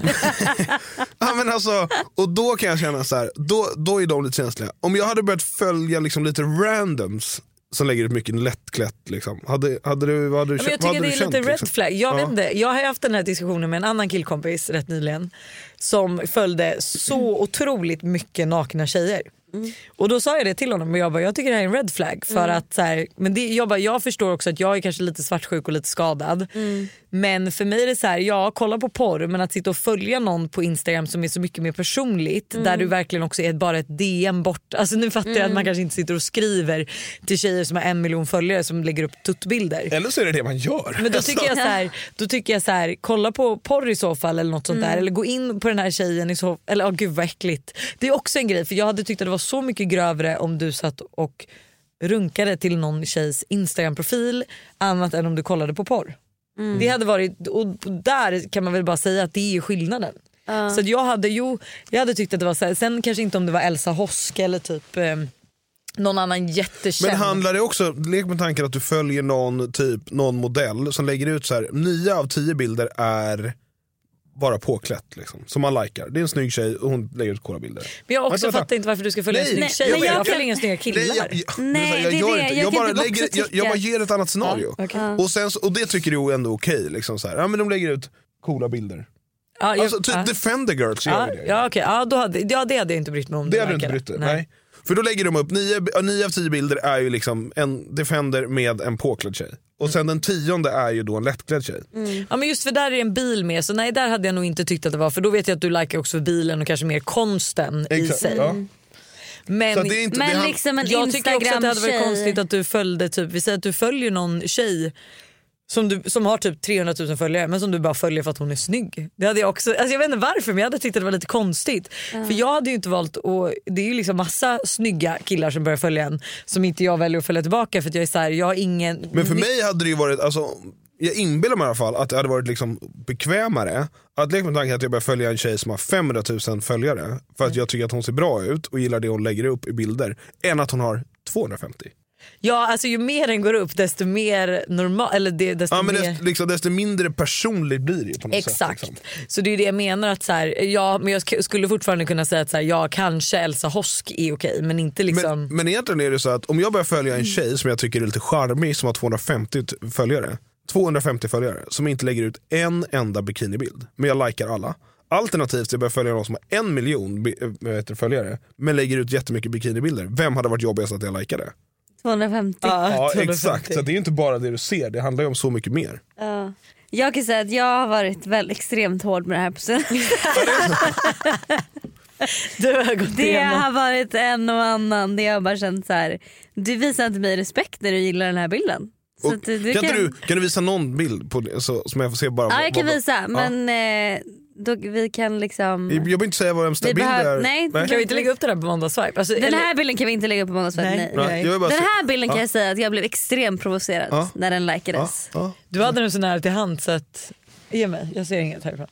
Speaker 2: Ja, men alltså, och då kan jag känna så här, då, då är de lite känsliga. Om jag hade börjat följa liksom lite randoms som lägger ut mycket lättklätt, liksom. hade, hade du, vad hade du
Speaker 1: Ja, Men jag
Speaker 2: vad
Speaker 1: tycker
Speaker 2: hade
Speaker 1: det är
Speaker 2: du
Speaker 1: lite
Speaker 2: känt,
Speaker 1: red
Speaker 2: liksom?
Speaker 1: flag. Jag,
Speaker 2: Ja.
Speaker 1: vet inte, jag har ju haft den här diskussionen med en annan killkompis rätt nyligen som följde så otroligt mycket nakna tjejer.
Speaker 2: Mm.
Speaker 1: Och då sa jag det till honom och jag bara, jag tycker det här är en red flag. För att, så här, men det, jag, bara, jag förstår också att jag är kanske lite svartsjuk och lite skadad.
Speaker 2: Mm.
Speaker 1: Men för mig är det så här, ja kolla på porr men att sitta och följa någon på Instagram som är så mycket mer personligt
Speaker 2: Mm.
Speaker 1: där du verkligen också är bara ett DM bort. Alltså nu fattar jag att man kanske inte sitter och skriver till tjejer som har en miljon följare som lägger upp tuttbilder.
Speaker 2: Eller så är det det man gör. Alltså.
Speaker 1: Men då tycker jag så här, då tycker jag så här kolla på porr i så fall eller något sånt där eller gå in på den här tjejen i så eller oh, gud vad äckligt. Det är också en grej för jag hade tyckt att det var så mycket grövre om du satt och runkade till någon tjejs instagramprofil annat än om du kollade på porr. Det hade varit, och där kan man väl bara säga att det är ju skillnaden. Så att jag hade jo, jag hade tyckt att det var så här, sen kanske inte om det var Elsa Hosk eller typ eh, någon annan jättekänd.
Speaker 2: Men handlar det också, lek med tanken att du följer någon typ, någon modell som lägger ut så här, nio av tio bilder är bara påklätt liksom, som man likar. Det är en snygg tjej och hon lägger ut coola bilder.
Speaker 1: Men jag också
Speaker 2: Vänta, vänta.
Speaker 1: fattar inte varför du ska följa
Speaker 2: Nej,
Speaker 1: en snygg
Speaker 2: nej,
Speaker 1: tjej.
Speaker 2: jag
Speaker 1: Jag,
Speaker 2: vet.
Speaker 1: följer inga snygga killar.
Speaker 2: Nej, jag, jag,
Speaker 3: Nej,
Speaker 2: men så här, jag gör
Speaker 3: det är det.
Speaker 2: inte.
Speaker 3: Jag
Speaker 2: Jag
Speaker 3: kan
Speaker 2: bara
Speaker 3: typ också
Speaker 2: lägger- jag- jag
Speaker 3: tycka.
Speaker 2: bara ger ett annat scenario.
Speaker 1: okej.
Speaker 2: och, sen, så- och det tycker du ändå är okej. liksom så här. ja, men de lägger ut coola bilder.
Speaker 1: Ja, jag-
Speaker 2: Alltså, typ
Speaker 1: ja.
Speaker 2: Defender Girls gör
Speaker 1: Ja,
Speaker 2: ju det.
Speaker 1: ja, okej. ja, då hade, ja, det hade jag inte brytt mig om.
Speaker 2: Det hade du inte
Speaker 1: verkade.
Speaker 2: brytt dig nej. För då lägger de upp, nio, ja, nio av tio bilder är ju liksom en Defender med en påklädd tjej. Och sen den tionde är ju då en lättklädd tjej.
Speaker 1: Ja, men just för där är det en bil med, så nej där hade jag nog inte tyckt att det var för då vet jag att du likar också bilen och kanske mer konsten i
Speaker 2: Exakt,
Speaker 1: sig.
Speaker 2: ja.
Speaker 1: Men
Speaker 2: Så att det är inte, det
Speaker 3: Men
Speaker 2: han-
Speaker 3: liksom en
Speaker 1: jag tycker också att det hade varit konstigt
Speaker 3: Instagram-tjej.
Speaker 1: att du följde, typ, vi säger att du följer någon tjej som, du, som har typ 300 000 följare men som du bara följer för att hon är snygg. Det hade jag också, alltså jag vet inte varför men jag hade tyckt att det var lite konstigt. För jag hade ju inte valt att, det är ju liksom massa snygga killar som börjar följa en som inte jag väljer att följa tillbaka för att jag är såhär, jag har ingen...
Speaker 2: Men för mig hade det ju varit, alltså, jag inbillar mig i alla fall att det hade varit liksom bekvämare att leka med tanken att jag börjar följa en tjej som har 500 000 följare för
Speaker 1: Mm.
Speaker 2: att jag tycker att hon ser bra ut och gillar det hon lägger upp i bilder än att hon har 250.
Speaker 1: Ja alltså ju mer den går upp desto mer normal, eller det, desto
Speaker 2: Ja, men
Speaker 1: mer...
Speaker 2: desto, liksom, desto mindre personligt blir det ju på något sätt.
Speaker 1: Exakt.
Speaker 2: Liksom.
Speaker 1: Så det är ju det jag menar. att så här, ja, men Jag sk- skulle fortfarande kunna säga att så här, ja, kanske Elsa Hosk är okej men inte liksom...
Speaker 2: Men, men egentligen är det så att om jag börjar följa
Speaker 3: Mm.
Speaker 2: en tjej som jag tycker är lite charmig som har 250 t- följare, 250 följare som inte lägger ut en enda bikinibild, men jag likar alla. Alternativt jag börjar följa någon som har en miljon bi- äh, vad heter det, följare men lägger ut jättemycket bikinibilder. Vem hade varit jobbigast att jag likade?
Speaker 3: 250.
Speaker 2: Ja
Speaker 1: 250.
Speaker 2: exakt, så det är ju inte bara det du ser, det handlar ju om så mycket mer.
Speaker 3: Jag kan säga att jag har varit väl extremt hård med det här på sen-
Speaker 1: Du har gått
Speaker 3: Det
Speaker 1: igenom.
Speaker 3: har varit en och annan där jag bara känt så här. du visar inte mig respekt när du gillar den här bilden. Så
Speaker 2: Och,
Speaker 3: att
Speaker 2: kan,
Speaker 3: du
Speaker 2: inte Du, kan du visa någon bild på det, så, som jag får se? bara
Speaker 3: Ja
Speaker 2: vad-
Speaker 3: jag kan
Speaker 2: vad-
Speaker 3: visa men eh, då, vi kan liksom...
Speaker 2: Jag behöver inte säga vad vems
Speaker 3: Vi
Speaker 2: bild det
Speaker 3: behöver-
Speaker 2: är.
Speaker 3: nej,
Speaker 1: Kan vi inte lägga upp det där på måndagsswipe? Alltså,
Speaker 3: Den
Speaker 1: eller-
Speaker 3: här bilden kan vi inte lägga upp på måndagsfest,
Speaker 1: Nej.
Speaker 3: nej.
Speaker 2: Ja, jag vill bara
Speaker 3: Den
Speaker 2: se-
Speaker 3: här bilden kan
Speaker 2: Ja.
Speaker 3: jag säga att jag blev extremt provocerad
Speaker 2: Ja.
Speaker 3: när den likades.
Speaker 2: Ja,
Speaker 1: Du hade den så nära till hand så att... Ge mig, jag ser inget härifrån.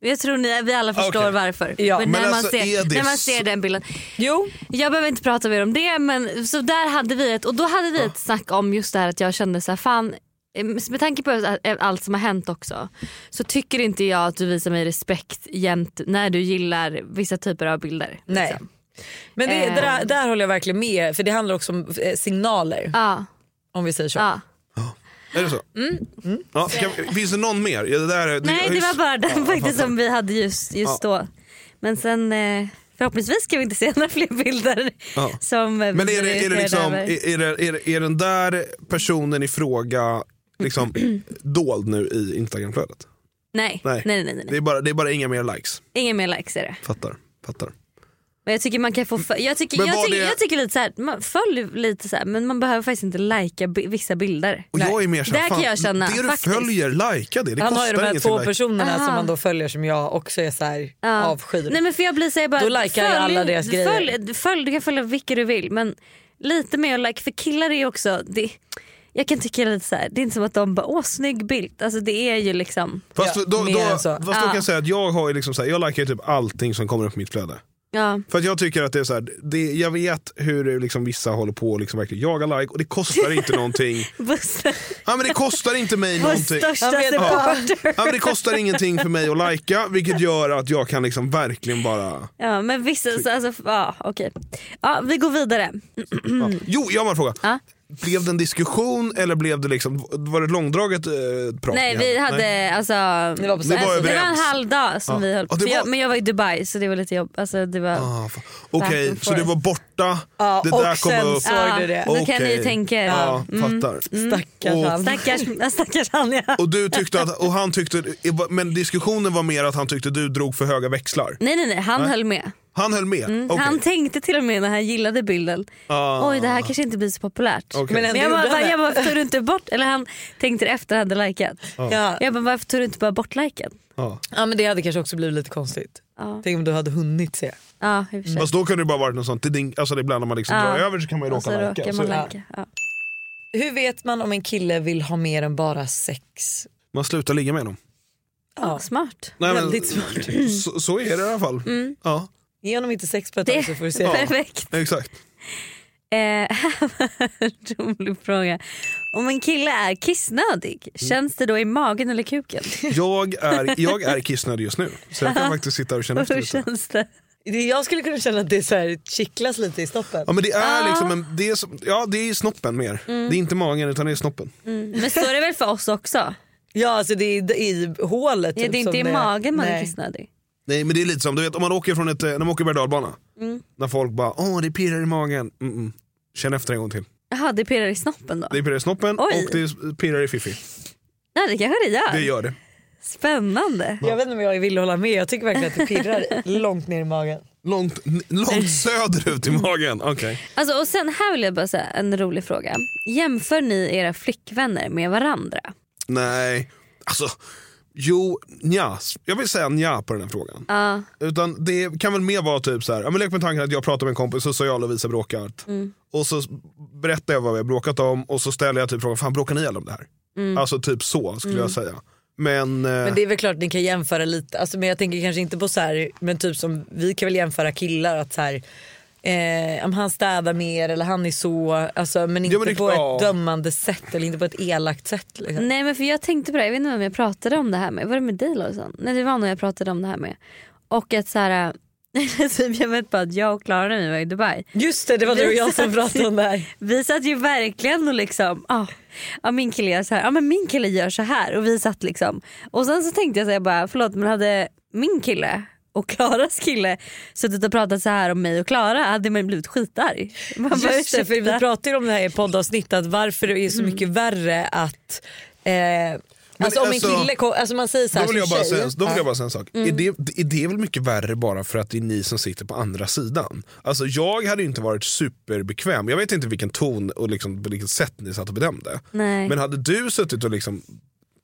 Speaker 3: Jag tror ni, vi alla förstår
Speaker 2: Ah, Okej.
Speaker 3: varför.
Speaker 1: Ja.
Speaker 3: Men när,
Speaker 2: Men
Speaker 3: man
Speaker 2: alltså, är
Speaker 3: ser,
Speaker 2: det
Speaker 3: när man
Speaker 2: så-
Speaker 3: ser den bilden.
Speaker 1: Jo,
Speaker 3: Jag behöver inte prata mer om det men så där hade vi ett, och då hade vi ett snack om just det här att jag kände så här, fan eh, med tanke på att- eh, allt som har hänt också så tycker inte jag att du visar mig respekt jämt när du gillar vissa typer av bilder.
Speaker 1: Nej.
Speaker 3: Liksom.
Speaker 1: Men det,
Speaker 3: Eh.
Speaker 1: det där, där håller jag verkligen med för det handlar också om eh, signaler
Speaker 3: Ja,
Speaker 1: om vi säger så.
Speaker 3: ja.
Speaker 2: Är det så? Mm. Ja, kan, finns det någon mer? Ja, det där, är-
Speaker 3: Mm. Nej
Speaker 2: jag-
Speaker 3: det var bara den
Speaker 2: jag
Speaker 3: faktiskt
Speaker 2: fattar.
Speaker 3: som vi hade just, just då. Men sen eh, förhoppningsvis ska vi inte se några fler bilder
Speaker 2: Ja.
Speaker 3: som eh,
Speaker 2: Men är
Speaker 3: blir
Speaker 2: det, är det
Speaker 3: irriterade
Speaker 2: liksom,
Speaker 3: över.
Speaker 2: är, är, det, är, det, är den där personen i fråga liksom *clears throat* dold nu i Instagramflödet?
Speaker 3: Nej, nej,
Speaker 2: Nej.
Speaker 3: nej, nej, nej.
Speaker 2: Det är, bara, det är bara inga mer likes.
Speaker 3: Inga mer likes är det.
Speaker 2: Fattar. Fattar.
Speaker 3: Men jag tycker man kan få fö- jag, tycker,
Speaker 2: Men
Speaker 3: jag,
Speaker 2: var
Speaker 3: tycker,
Speaker 2: det-
Speaker 3: jag tycker lite så här, man följ lite så här, men man behöver faktiskt inte lajka bi- vissa bilder.
Speaker 2: Och jag är mer så här,
Speaker 3: Där
Speaker 2: fan,
Speaker 3: kan jag känna,
Speaker 2: det du
Speaker 3: faktiskt.
Speaker 2: följer, likea det. Det
Speaker 1: Han har ju de
Speaker 2: kostar
Speaker 1: här
Speaker 2: ingenting.
Speaker 1: två
Speaker 2: Like.
Speaker 1: personerna
Speaker 3: Aha.
Speaker 1: som man då följer som jag också är så här
Speaker 3: Ja.
Speaker 1: avskyr.
Speaker 3: Nej men för jag blir så här, bara,
Speaker 1: Då likar jag alla deras
Speaker 3: följ,
Speaker 1: grejer.
Speaker 3: Följ, följ, du kan följa vilka du vill men lite mer like, för killar är ju också, det, jag kan tycka lite så här, det är inte som att de bara åh snygg bild. Alltså det är ju liksom,
Speaker 2: Fast,
Speaker 1: Ja,
Speaker 2: då,
Speaker 1: mer
Speaker 2: då,
Speaker 1: än
Speaker 2: fast
Speaker 1: så.
Speaker 2: då
Speaker 3: Ja.
Speaker 2: kan jag säga att jag har ju liksom så här, jag likar ju typ allting som kommer upp i mitt flöde.
Speaker 3: ja. *laughs*
Speaker 2: För att jag tycker att det är så här, det, jag vet hur liksom vissa håller på och liksom verkligen jagar like och det kostar
Speaker 3: *laughs*
Speaker 2: inte någonting.
Speaker 3: Buster,
Speaker 2: Ja men det kostar inte
Speaker 3: *laughs*
Speaker 2: mig
Speaker 3: vår
Speaker 2: någonting.
Speaker 3: största
Speaker 1: vet-
Speaker 3: supporter.
Speaker 2: Ja, men det kostar ingenting för mig att lajka vilket gör att jag kan liksom verkligen bara...
Speaker 3: Ja men vissa, så, alltså, ja okej. Ja vi går vidare.
Speaker 2: Ja. Jo, jag har en fråga.
Speaker 3: Mm. Ja.
Speaker 2: Blev det en diskussion eller blev det liksom, var det ett långdraget eh, prat?
Speaker 3: Nej
Speaker 2: ni
Speaker 3: vi
Speaker 2: hade?
Speaker 3: hade alltså,
Speaker 1: Ni var på
Speaker 2: Ni var
Speaker 3: alltså, det
Speaker 1: samma-
Speaker 3: var en
Speaker 2: överens.
Speaker 3: halv dag som
Speaker 2: Ja.
Speaker 3: vi höll på.
Speaker 2: Ja, det
Speaker 3: För jag,
Speaker 2: var-
Speaker 3: men jag var i Dubai så det var lite jobb. Alltså, det var,
Speaker 2: Ah, fan. Okej,
Speaker 3: Back and
Speaker 2: så du var
Speaker 3: forth.
Speaker 2: borta,
Speaker 1: Ja,
Speaker 2: det
Speaker 1: och
Speaker 2: där kom
Speaker 1: sen
Speaker 2: upp.
Speaker 1: så- Såg du det?
Speaker 3: Då kan ni
Speaker 2: Okej.
Speaker 3: ju tänka er.
Speaker 2: Ja,
Speaker 3: Mm.
Speaker 2: fattar.
Speaker 1: Stackars
Speaker 2: Och-
Speaker 1: han.
Speaker 3: Stackars, *laughs* stackars Anja.
Speaker 2: Och du tyckte att, och han tyckte, men diskussionen var mer att han tyckte du drog för höga växlar.
Speaker 3: Nej nej nej, han höll med.
Speaker 2: Han höll med? Mm,
Speaker 3: Han tänkte till och med när han gillade bilden,
Speaker 2: Ah.
Speaker 3: oj det här kanske inte blir så populärt.
Speaker 2: Okej.
Speaker 1: Men
Speaker 2: Men,
Speaker 1: ändå
Speaker 3: Men jag
Speaker 1: gjorde
Speaker 3: bara,
Speaker 1: han
Speaker 3: bara,
Speaker 1: det.
Speaker 3: jag bara, varför tog du inte bort, eller han tänkte det efter han hade likat.
Speaker 2: Ah.
Speaker 1: Ja.
Speaker 3: Jag bara, varför tog du inte bara bort liken?
Speaker 2: ja.
Speaker 1: ja men det hade kanske också blivit lite konstigt.
Speaker 3: Ja.
Speaker 1: Tänk om du hade hunnit se.
Speaker 3: Ja, i och för sig.
Speaker 2: Fast då kunde det bara varit något sånt, tiding, alltså det är ibland när man liksom
Speaker 3: Ja.
Speaker 2: drar över så kan man ju
Speaker 3: Och så
Speaker 2: råka lajka.
Speaker 3: råkar man
Speaker 2: Man,
Speaker 3: lajka. Ja.
Speaker 1: Hur vet man om en kille vill ha mer än bara sex?
Speaker 2: man slutar ligga med dem.
Speaker 1: Ja.
Speaker 3: Smart.
Speaker 2: Nej, men-
Speaker 1: Väldigt smart.
Speaker 2: Så, så är det i alla fall. Ja,
Speaker 1: Ge honom inte sex på ett
Speaker 3: Det-
Speaker 1: tag så får du
Speaker 3: *laughs*
Speaker 1: se.
Speaker 3: Perfekt.
Speaker 2: exakt.
Speaker 3: Eh, *laughs* här var en rolig fråga. Om en kille är kissnödig,
Speaker 2: Mm.
Speaker 3: känns det då i magen eller kuken?
Speaker 2: Jag är, jag är kissnödig just nu. Så *laughs* jag kan faktiskt sitta och känna efter
Speaker 3: Hur
Speaker 2: lite.
Speaker 3: känns det?
Speaker 1: Det- Jag skulle kunna känna att det så här kittlas lite i stoppen.
Speaker 2: Ja men det är liksom en, det är, som- ja det är snoppen mer. Det är inte magen utan det är snoppen.
Speaker 3: Men så är det väl för oss också?
Speaker 1: Ja alltså det är i- i hålet.
Speaker 3: Ja,
Speaker 1: typ,
Speaker 3: det är
Speaker 1: som
Speaker 3: inte i magen man är
Speaker 1: Nej.
Speaker 3: kissnödig.
Speaker 2: Nej men det är lite som, du vet om man åker från ett, eh, när man åker berg dalbana När folk bara åh det pirrar i magen. Mm -mm. Känn efter en gång till.
Speaker 3: Jaha, det pirrar i snoppen då?
Speaker 2: Det pirrar i snoppen
Speaker 3: Oj.
Speaker 2: och det pirrar i fiffi.
Speaker 3: Ja det kanske det gör.
Speaker 2: Det gör det.
Speaker 3: Spännande.
Speaker 1: Jag vet inte om jag vill hålla med, jag tycker verkligen att det pirrar
Speaker 3: *laughs*
Speaker 1: långt ner i magen.
Speaker 2: Långt, n- långt söderut i magen. Okej.
Speaker 3: Alltså, och sen här vill jag bara säga en rolig fråga. Jämför ni era flickvänner med varandra?
Speaker 2: Nej. Alltså, jo, nja. Jag vill säga nja på den här frågan.
Speaker 3: Ja.
Speaker 2: Utan det kan väl mer vara typ så här, ja, men lek med tanken att jag pratar med en kompis och så jag och Lovisa bråkar. Och så berättar jag vad vi har bråkat om och så ställer jag typ frågan, fan bråkar ni ihjäl om det här? Alltså typ så skulle jag säga. Men, eh,
Speaker 1: Men det är väl klart ni kan jämföra lite, alltså, men jag tänker kanske inte på så här, men typ som vi kan väl jämföra killar att så här, eh, om han städar mer eller han är så, alltså, men inte
Speaker 2: men det-
Speaker 1: på
Speaker 2: ja.
Speaker 1: ett dömande sätt eller inte på ett elakt sätt. Liksom.
Speaker 3: Nej men för jag tänkte på det, jag vet inte vem jag pratade om det här med. Var det med dig Lojsan? Nej det var någon jag pratade om det här med. Och att såhär, *laughs* typ jag vet bara att jag och Klara när vi var i Dubai.
Speaker 1: Just det, det var du och jag som pratade om det här.
Speaker 3: Vi satt ju verkligen och liksom, ah, ja min kille gör så här, ja men min kille gör så här. Och vi satt liksom. Och sen så tänkte jag så här, jag bara, förlåt men hade min kille och Klaras kille suttit och pratat så här om mig och Klara hade man blivit skitarg. Man bara,
Speaker 1: Just det, för vi
Speaker 3: ursäkta. Mm.
Speaker 1: pratade ju om det här i poddavsnittet, att varför det är så mycket värre att eh, Alltså om en
Speaker 2: alltså-
Speaker 1: kille kom, alltså man säger så här
Speaker 2: då vill jag
Speaker 1: som
Speaker 2: bara säga,
Speaker 1: tjej-
Speaker 2: då vill
Speaker 1: Ja. Mm.
Speaker 2: jag bara säga en sak. Är, det, är det väl mycket värre bara för att det är ni som sitter på andra sidan? Alltså jag hade ju inte varit superbekväm. Jag vet inte vilken ton och liksom, på vilket sätt ni satt och bedömde.
Speaker 3: Nej.
Speaker 2: Men hade du suttit och liksom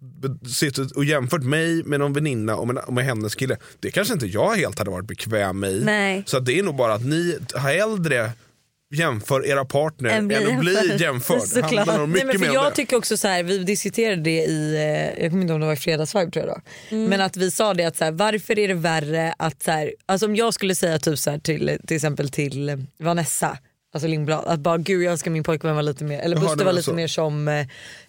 Speaker 2: be- suttit och jämfört mig med någon väninna och med, och med hennes kille. Det kanske inte jag helt hade varit bekväm i.
Speaker 3: Nej.
Speaker 2: Så att det är nog bara att ni hellre jämför era partner
Speaker 3: Än
Speaker 2: än,
Speaker 3: blir
Speaker 2: att bli
Speaker 3: jämförd.
Speaker 1: *laughs*
Speaker 2: jämförd. Det
Speaker 3: Såklart.
Speaker 2: handlar nog
Speaker 1: Nej,
Speaker 2: mycket
Speaker 1: men
Speaker 2: mer
Speaker 1: för
Speaker 2: om
Speaker 1: jag
Speaker 2: det.
Speaker 1: tycker också så här, vi diskuterade det i, eh, jag kommer inte ihåg om det var i fredagsvibe tror jag då.
Speaker 3: Mm.
Speaker 1: Men att vi sa det att så här, varför är det värre att så här, alltså om jag skulle säga typ så här till till exempel till eh, Vanessa Alltså Lindblad, att bara gud jag önskar min pojkvän var lite mer, eller
Speaker 2: Jaha,
Speaker 1: Buster
Speaker 2: det
Speaker 1: var
Speaker 2: var
Speaker 1: lite
Speaker 2: så.
Speaker 1: mer som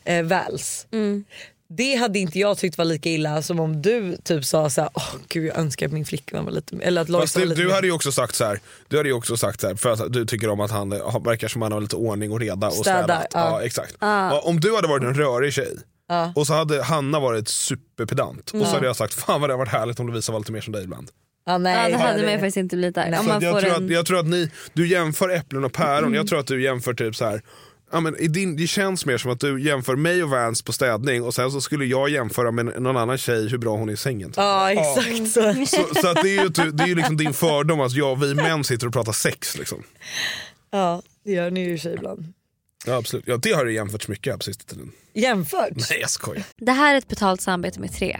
Speaker 1: eh, eh, Vals.
Speaker 3: Mm.
Speaker 1: Det hade inte jag tyckt var lika illa som om du typ sa såhär, åh gud jag önskar att min flickvän var lite mer, eller att Lojsan
Speaker 2: Fast
Speaker 1: var
Speaker 2: du,
Speaker 1: lite
Speaker 2: du
Speaker 1: mer.
Speaker 2: hade ju också sagt så här, du hade ju också sagt så här, för att du tycker om att han eh, har- verkar som att han har lite ordning och reda och
Speaker 1: Städar,
Speaker 2: städat.
Speaker 1: ja.
Speaker 2: Ja. exakt. Ja, om du hade varit en rörig tjej och så hade Hanna varit superpedant och så hade jag sagt fan vad det hade varit härligt om Lovisa var lite mer som dig ibland.
Speaker 1: Ja, nej,
Speaker 3: Ja, det
Speaker 1: det
Speaker 3: hade
Speaker 1: hade-
Speaker 3: man ju faktiskt inte blivit där.
Speaker 1: Nej.
Speaker 3: Om
Speaker 2: Så
Speaker 3: man
Speaker 2: att Alltså, jag,
Speaker 3: får
Speaker 2: tror
Speaker 3: en...
Speaker 2: att, jag tror att ni, du jämför äpplen och päron, jag tror att du jämför typ så här. Ja, men i din, det känns mer som att du jämför mig och Vans på städning och sen så skulle jag jämföra med någon annan tjej hur bra hon är i sängen. typ.
Speaker 1: Ja exakt *laughs* så.
Speaker 2: Så, så att det är ju, ty- det är ju liksom din fördom att jag, vi män sitter och pratar sex. Liksom.
Speaker 1: Ja det gör ni ju i och för sig ibland.
Speaker 2: Ja, absolut. Ja, det har det jämförts mycket här på sista tiden.
Speaker 1: Jämfört.
Speaker 2: *laughs* Nej jag skojar.
Speaker 3: Det här är ett betalt samarbete med tre.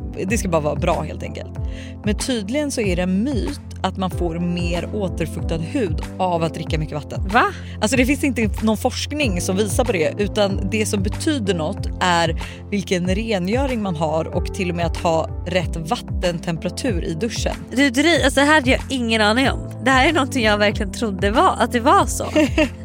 Speaker 1: det ska bara vara bra helt enkelt. Men tydligen så är det en myt att man får mer återfuktad hud av att dricka mycket vatten.
Speaker 3: Va?
Speaker 1: Alltså det finns inte någon forskning som visar på det utan det som betyder något är vilken rengöring man har och till och med att ha rätt vattentemperatur i duschen.
Speaker 3: Du, dri- alltså, det här hade jag ingen aning om. Det här är någonting jag verkligen trodde var, att det var så.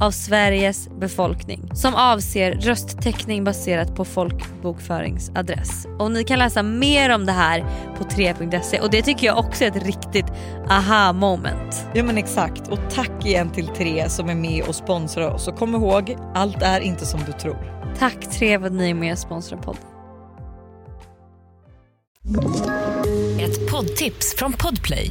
Speaker 3: av Sveriges befolkning som avser rösttäckning baserat på folkbokföringsadress. Och ni kan läsa mer om det här på 3.se och det tycker jag också är ett riktigt aha moment.
Speaker 1: Ja men exakt och tack igen till tre som är med och sponsrar oss och kom ihåg allt är inte som du tror.
Speaker 3: Tack Tre för att ni är med och sponsrar podden.
Speaker 6: Ett poddtips från Podplay.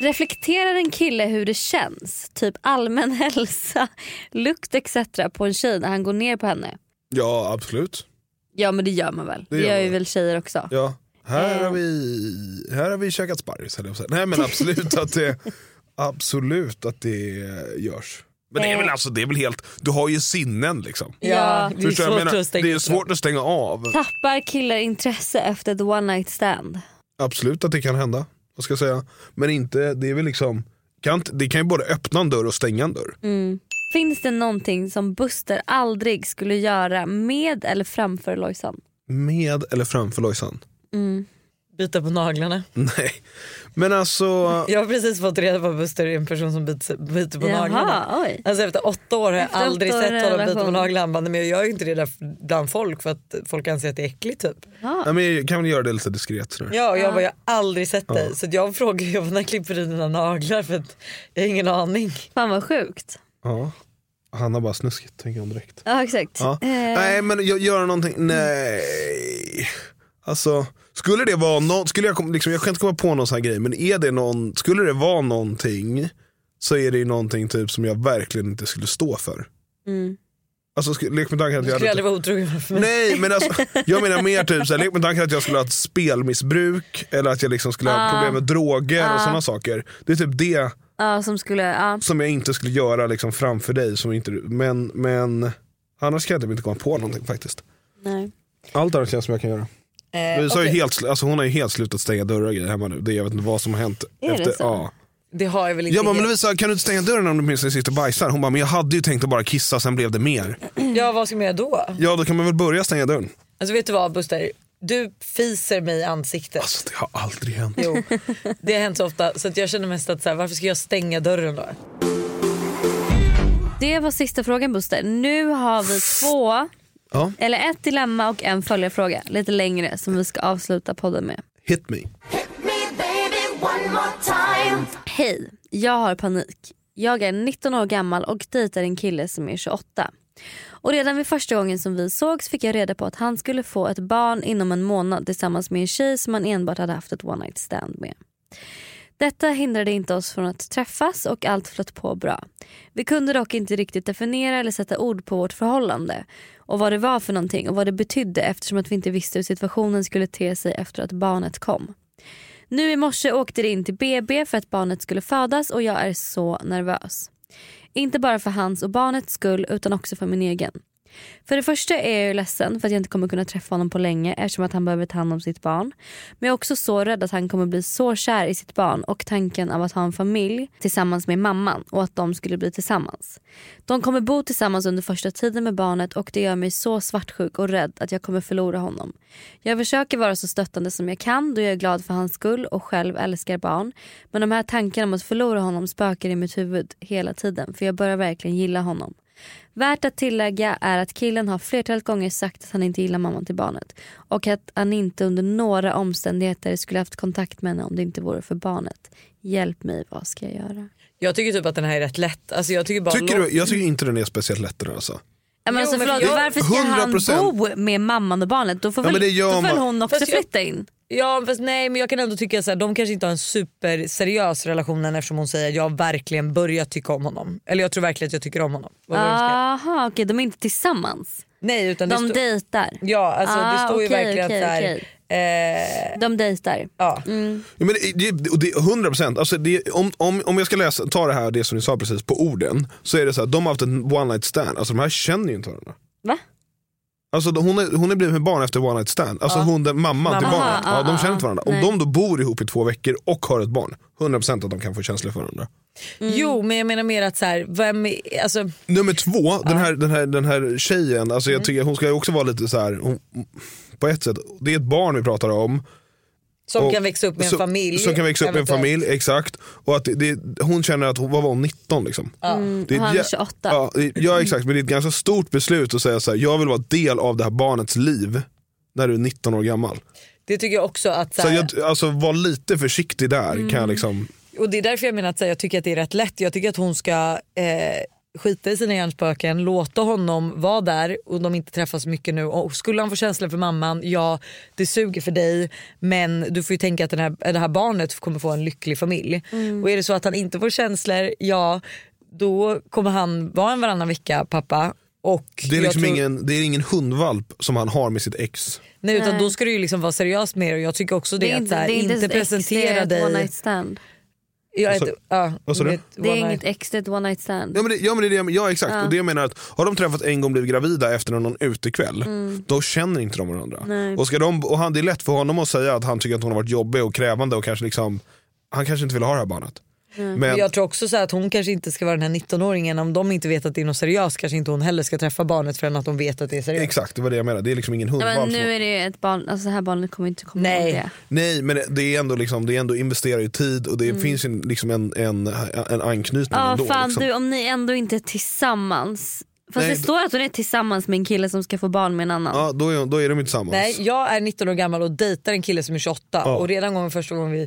Speaker 3: Reflekterar en kille hur det känns, typ allmän *laughs* hälsa, lukt etc. på en tjej när han går ner på henne?
Speaker 2: Ja absolut.
Speaker 3: Ja men det gör man väl. Det,
Speaker 2: Det gör
Speaker 3: gör ju
Speaker 2: man.
Speaker 3: väl tjejer också.
Speaker 2: Ja. Här, har vi, här har vi käkat sparris höll jag på att säga. Nej men absolut att *laughs* det, absolut att det görs. Men det är väl alltså, det är väl helt, du har ju sinnen liksom.
Speaker 3: Ja.
Speaker 1: det är
Speaker 2: Förstår du vad jag
Speaker 1: svårt
Speaker 2: menar?
Speaker 1: att stänga
Speaker 2: det är
Speaker 1: ut
Speaker 2: svårt att stänga av.
Speaker 3: Tappar killar intresse efter ett one night stand?
Speaker 2: Absolut att det kan hända. Vad ska jag säga? Men inte, det är väl liksom, kan, inte- det kan ju både öppna en dörr och stänga en dörr.
Speaker 3: Mm. Finns det någonting som Buster aldrig skulle göra med eller framför Lojsan?
Speaker 2: Med eller framför Lojsan? *laughs*
Speaker 3: Mm.
Speaker 1: Bita på naglarna.
Speaker 2: Nej. Men alltså,
Speaker 1: Jag har precis fått reda på att Buster är en person som biter, biter på naglarna.
Speaker 3: Jaha, oj.
Speaker 1: Alltså efter åtta år har jag
Speaker 3: Efter åtta
Speaker 1: aldrig
Speaker 3: år
Speaker 1: sett honom
Speaker 3: relation.
Speaker 1: bita på naglarna. Han bara, "Nej, Men jag gör ju inte det där bland folk för att folk anser att det är äckligt typ.
Speaker 2: nej, men jag kan väl göra det lite diskret. sådär.
Speaker 1: Ja, och jag bara, jag har aldrig sett dig. Så att jag frågar ju när klipper du dina naglar för att jag har ingen aning.
Speaker 3: Fan vad sjukt.
Speaker 2: Ja. Han har bara snuskigt, tänker jag direkt.
Speaker 3: Ja exakt. Eh,
Speaker 2: Ja.
Speaker 1: Eh.
Speaker 2: Nej men gö- göra någonting,
Speaker 1: Mm.
Speaker 2: nej. Alltså, skulle det vara någon, skulle jag, kom- liksom, jag kan inte komma på någon sån här grej, men är det någon, skulle det vara någonting så är det ju någonting typ som jag verkligen inte skulle stå för.
Speaker 3: mm.
Speaker 2: Alltså, sk- lek med tanken att
Speaker 1: Du
Speaker 2: jag hade
Speaker 1: skulle aldrig vara otrogen för mig.
Speaker 2: Nej men
Speaker 1: *laughs*
Speaker 2: alltså, jag menar mer typ såhär, lek med tanken att jag skulle ha ett spelmissbruk eller att jag liksom skulle
Speaker 1: Ah.
Speaker 2: ha problem med droger och sådana saker. Det är typ det
Speaker 3: Ja, som skulle, ja.
Speaker 2: som jag inte skulle göra liksom framför dig. Som inte, du- men, men annars kan jag typ inte komma på någonting faktiskt.
Speaker 3: Nej.
Speaker 2: Allt annat känns som jag kan göra.
Speaker 1: Eh,
Speaker 2: Lisa har ju
Speaker 1: okej.
Speaker 2: helt, sl- alltså hon har ju helt slutat stänga dörrar och grejer hemma nu. Det, jag vet inte vad som har hänt.
Speaker 3: Är det så?
Speaker 2: ja.
Speaker 1: Det har jag väl inte.
Speaker 2: Jag bara, men
Speaker 1: helt-
Speaker 2: Lovisa kan du inte stänga dörren om du minst sitter och bajsar? Hon bara, men jag hade ju tänkt att bara kissa sen blev det mer.
Speaker 1: Ja, vad ska man göra då?
Speaker 2: Ja då kan man väl börja stänga dörren.
Speaker 1: Alltså vet du vad Buster? Du fiser mig i ansiktet.
Speaker 2: Alltså det har aldrig hänt.
Speaker 1: Jo, det har hänt så ofta så att jag känner mest att så här, varför ska jag stänga dörren då?
Speaker 3: Det var sista frågan Buster. Nu har vi två,
Speaker 2: Ja.
Speaker 3: eller ett dilemma och en följarfråga lite längre som vi ska avsluta podden med.
Speaker 2: Hit me.
Speaker 4: Me, baby, one more time.
Speaker 3: Hej, jag har panik. Jag är 19 år gammal och dejtar en kille som är 28. Och redan vid första gången som vi sågs fick jag reda på att han skulle få ett barn inom en månad tillsammans med en tjej som han enbart hade haft ett one night stand med. Detta hindrade inte oss från att träffas och allt flöt på bra. Vi kunde dock inte riktigt definiera eller sätta ord på vårt förhållande och vad det var för någonting och vad det betydde eftersom att vi inte visste hur situationen skulle te sig efter att barnet kom. Nu i morse åkte det in till BB för att barnet skulle födas och jag är så nervös. Inte bara för hans och barnets skull utan också för min egen. För det första är jag ju ledsen för att jag inte kommer kunna träffa honom på länge eftersom att han behöver ta hand om sitt barn. Men jag är också så rädd att han kommer bli så kär i sitt barn och tanken av att ha en familj tillsammans med mamman och att de skulle bli tillsammans. De kommer bo tillsammans under första tiden med barnet och det gör mig så svartsjuk och rädd att jag kommer förlora honom. Jag försöker vara så stöttande som jag kan då jag är glad för hans skull och själv älskar barn. Men de här tankarna om att förlora honom spökar i mitt huvud hela tiden för jag börjar verkligen gilla honom. Värt att tillägga är att killen har flertalet gånger sagt att han inte gillar mamman till barnet och att han inte under några omständigheter skulle haft kontakt med henne om det inte vore för barnet. Hjälp mig, vad ska jag göra?
Speaker 1: Jag tycker typ att den här är rätt lätt. Alltså jag tycker bara
Speaker 2: Tycker du, jag tycker inte den är speciellt lätt den här, alltså.
Speaker 3: Ja, men
Speaker 1: Jo,
Speaker 3: alltså,
Speaker 1: men
Speaker 3: förlåt,
Speaker 1: jag-
Speaker 3: varför ska han
Speaker 2: 100%.
Speaker 3: bo med mamman och barnet? Då får
Speaker 1: Ja,
Speaker 3: väl,
Speaker 1: men det gör
Speaker 3: då får väl
Speaker 1: man.
Speaker 3: hon också
Speaker 1: Fast jag-
Speaker 3: flytta in?
Speaker 1: Ja fast nej men jag kan ändå tycka att de kanske inte har en superseriös relation än eftersom hon säger jag har verkligen börjat tycka om honom. Eller jag tror verkligen att jag tycker om honom. Vad var det du
Speaker 2: Ah.
Speaker 1: skrev?
Speaker 3: Aha, okej de är inte tillsammans?
Speaker 1: Nej utan det
Speaker 3: de
Speaker 1: stod-
Speaker 3: dejtar?
Speaker 1: Ja alltså det
Speaker 3: Ah,
Speaker 1: står ju
Speaker 3: okej,
Speaker 1: verkligen
Speaker 3: okej,
Speaker 1: så här.
Speaker 3: okej.
Speaker 1: Eh,
Speaker 3: De dejtar?
Speaker 1: Ja.
Speaker 3: Mm.
Speaker 2: Ja, men det, det, och det, 100 procent. Alltså det- om, om, om jag ska läsa, ta det här det som ni sa precis på orden. Så är det så här, de har haft en one night stand. Alltså de här känner ju inte varandra.
Speaker 3: Va?
Speaker 2: Alltså de- hon är, hon är blivit med barn efter one night stand. Alltså hon, den, mamman till
Speaker 3: Mamma.
Speaker 2: barnet.
Speaker 3: Aha,
Speaker 2: Ja, de
Speaker 3: ja,
Speaker 2: känner inte varandra. Om
Speaker 3: nej.
Speaker 2: de då bor ihop i två veckor och har ett barn. 100 procent att de kan få känslor för varandra. mm.
Speaker 1: Jo men jag menar mer att så här, vem är- alltså,
Speaker 2: Nummer två, den, här, den, här, den här tjejen, alltså
Speaker 3: Mm.
Speaker 2: jag tycker hon ska ju också vara lite så här. Hon, på ett sätt, det är ett barn vi pratar om.
Speaker 1: som
Speaker 2: Och-
Speaker 1: kan växa upp med en
Speaker 2: som-
Speaker 1: familj.
Speaker 2: Som kan växa upp med en
Speaker 1: eventuellt.
Speaker 2: familj, exakt. Och att det, det, hon känner att, hon, vad var hon, 19 liksom?
Speaker 3: Mm,
Speaker 2: Det är
Speaker 3: och han är
Speaker 2: jä-
Speaker 3: 28.
Speaker 2: Ja, det- ja exakt, men det är ett ganska stort beslut att säga så här, jag vill vara del av det här barnets liv när du är 19 år gammal.
Speaker 1: Det tycker jag också att så
Speaker 2: Så
Speaker 1: här,
Speaker 2: jag, alltså var lite försiktig där kan
Speaker 3: Mm.
Speaker 2: jag liksom.
Speaker 1: Och det är därför jag menar att så här, jag tycker att det är rätt lätt. Jag tycker att hon ska eh, skita i sina hjärnspöken, låta honom vara där och de inte träffas mycket nu. Och skulle han få känslor för mamman, ja det suger för dig men du får ju tänka att den här, det här barnet kommer få en lycklig familj.
Speaker 3: Mm.
Speaker 1: Och är det så att han inte får känslor, ja då kommer han vara en varannan vecka pappa. Och
Speaker 2: Det är
Speaker 1: jag
Speaker 2: liksom
Speaker 1: tror-
Speaker 2: ingen, det är ingen hundvalp som han har med sitt ex.
Speaker 1: Nej utan
Speaker 3: Nej.
Speaker 1: då ska du ju liksom vara seriös med det och jag tycker också det,
Speaker 3: Det är
Speaker 1: att så här,
Speaker 3: det är
Speaker 1: inte,
Speaker 3: ens ex,
Speaker 1: presentera
Speaker 3: Det är ett one
Speaker 1: dig.
Speaker 3: night stand.
Speaker 1: Jag,
Speaker 2: Vad sa-
Speaker 1: ett, ja,
Speaker 2: vad sa du?
Speaker 1: ett
Speaker 3: Det är
Speaker 1: one
Speaker 3: inget
Speaker 1: night-
Speaker 3: ex, det är ett one night stand.
Speaker 2: Ja men det, ja, men det, är det ja exakt,
Speaker 3: Ja.
Speaker 2: och det jag menar att har de träffat en gång blivit gravida efter någon utekväll, då känner inte de varandra.
Speaker 3: Mm. Nej.
Speaker 2: Och, ska de, och han, det är lätt för honom att säga att han tycker att hon har varit jobbig och krävande och kanske liksom, han kanske inte vill ha det här barnet.
Speaker 1: Men
Speaker 2: Men,
Speaker 1: jag tror också så här att hon kanske inte ska vara den här 19-åringen. Om de inte vet att det är något seriöst kanske inte hon heller ska träffa barnet förrän att de vet att det är seriöst.
Speaker 2: Exakt, det var det jag menade. Det är liksom ingen
Speaker 3: Ja,
Speaker 2: hundvalp.
Speaker 3: men
Speaker 2: som-
Speaker 3: nu är det ju ett barn, alltså det här barnet kommer inte komma
Speaker 1: Nej.
Speaker 3: ihåg det.
Speaker 2: Nej men det är ändå, liksom, det är ändå investerar ju tid och det finns ju liksom en, en, en anknytning
Speaker 3: Mm. Ja
Speaker 2: ändå.
Speaker 3: fan
Speaker 2: liksom.
Speaker 3: du om ni ändå inte är tillsammans. Fast
Speaker 2: Nej,
Speaker 3: det
Speaker 2: då-
Speaker 3: står att hon är tillsammans med en kille som ska få barn med en annan.
Speaker 2: Ja, då, är, då är de ju tillsammans.
Speaker 1: Nej, jag är 19 år gammal och dejtar en kille som är 28
Speaker 2: Ja.
Speaker 1: och redan gången första gången vi,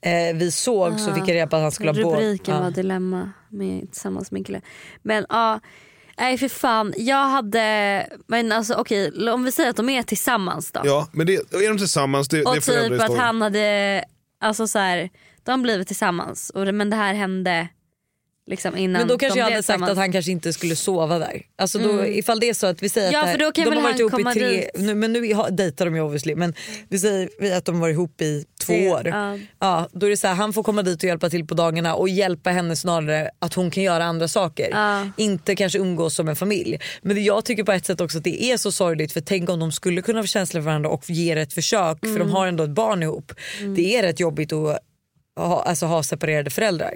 Speaker 1: eh, vi såg så
Speaker 3: Ah,
Speaker 1: fick jag reda på att han skulle ha båt.
Speaker 3: Rubriken
Speaker 1: Ja.
Speaker 3: var dilemma med, tillsammans med en kille. Men ja, nej för fan. Jag hade, men alltså okej om vi säger att de är tillsammans då.
Speaker 2: Ja, men det, är de tillsammans, det, det
Speaker 3: och
Speaker 2: förändrar
Speaker 3: typ att
Speaker 2: historien.
Speaker 3: han hade, alltså så här, de blev tillsammans och, det- men det här hände liksom innan
Speaker 1: Men då kanske
Speaker 3: de
Speaker 1: jag
Speaker 3: blev
Speaker 1: hade sagt
Speaker 3: tillsammans. Mm.
Speaker 1: att han kanske inte skulle sova där. Alltså då, Ifall det är så att vi säger
Speaker 3: Ja,
Speaker 1: att det här-
Speaker 3: för då kan
Speaker 1: de
Speaker 3: väl
Speaker 1: har varit
Speaker 3: han
Speaker 1: ihop i
Speaker 3: komma
Speaker 1: tre,
Speaker 3: dit.
Speaker 1: nu, men nu har- dejtar de ju obviously, men vi säger vi att de var ihop i två
Speaker 3: Det-
Speaker 1: år.
Speaker 3: ja.
Speaker 1: Ja, då är det så här, han får komma dit och hjälpa till på dagarna och hjälpa henne snarare att hon kan göra andra saker.
Speaker 3: Ja.
Speaker 1: Inte kanske umgås som en familj. Men det- jag tycker på ett sätt också att det är så sorgligt för tänk om de skulle kunna få känslor för varandra och ge det ett försök för de har ändå ett barn ihop. Det är rätt jobbigt att ha, alltså, ha separerade föräldrar.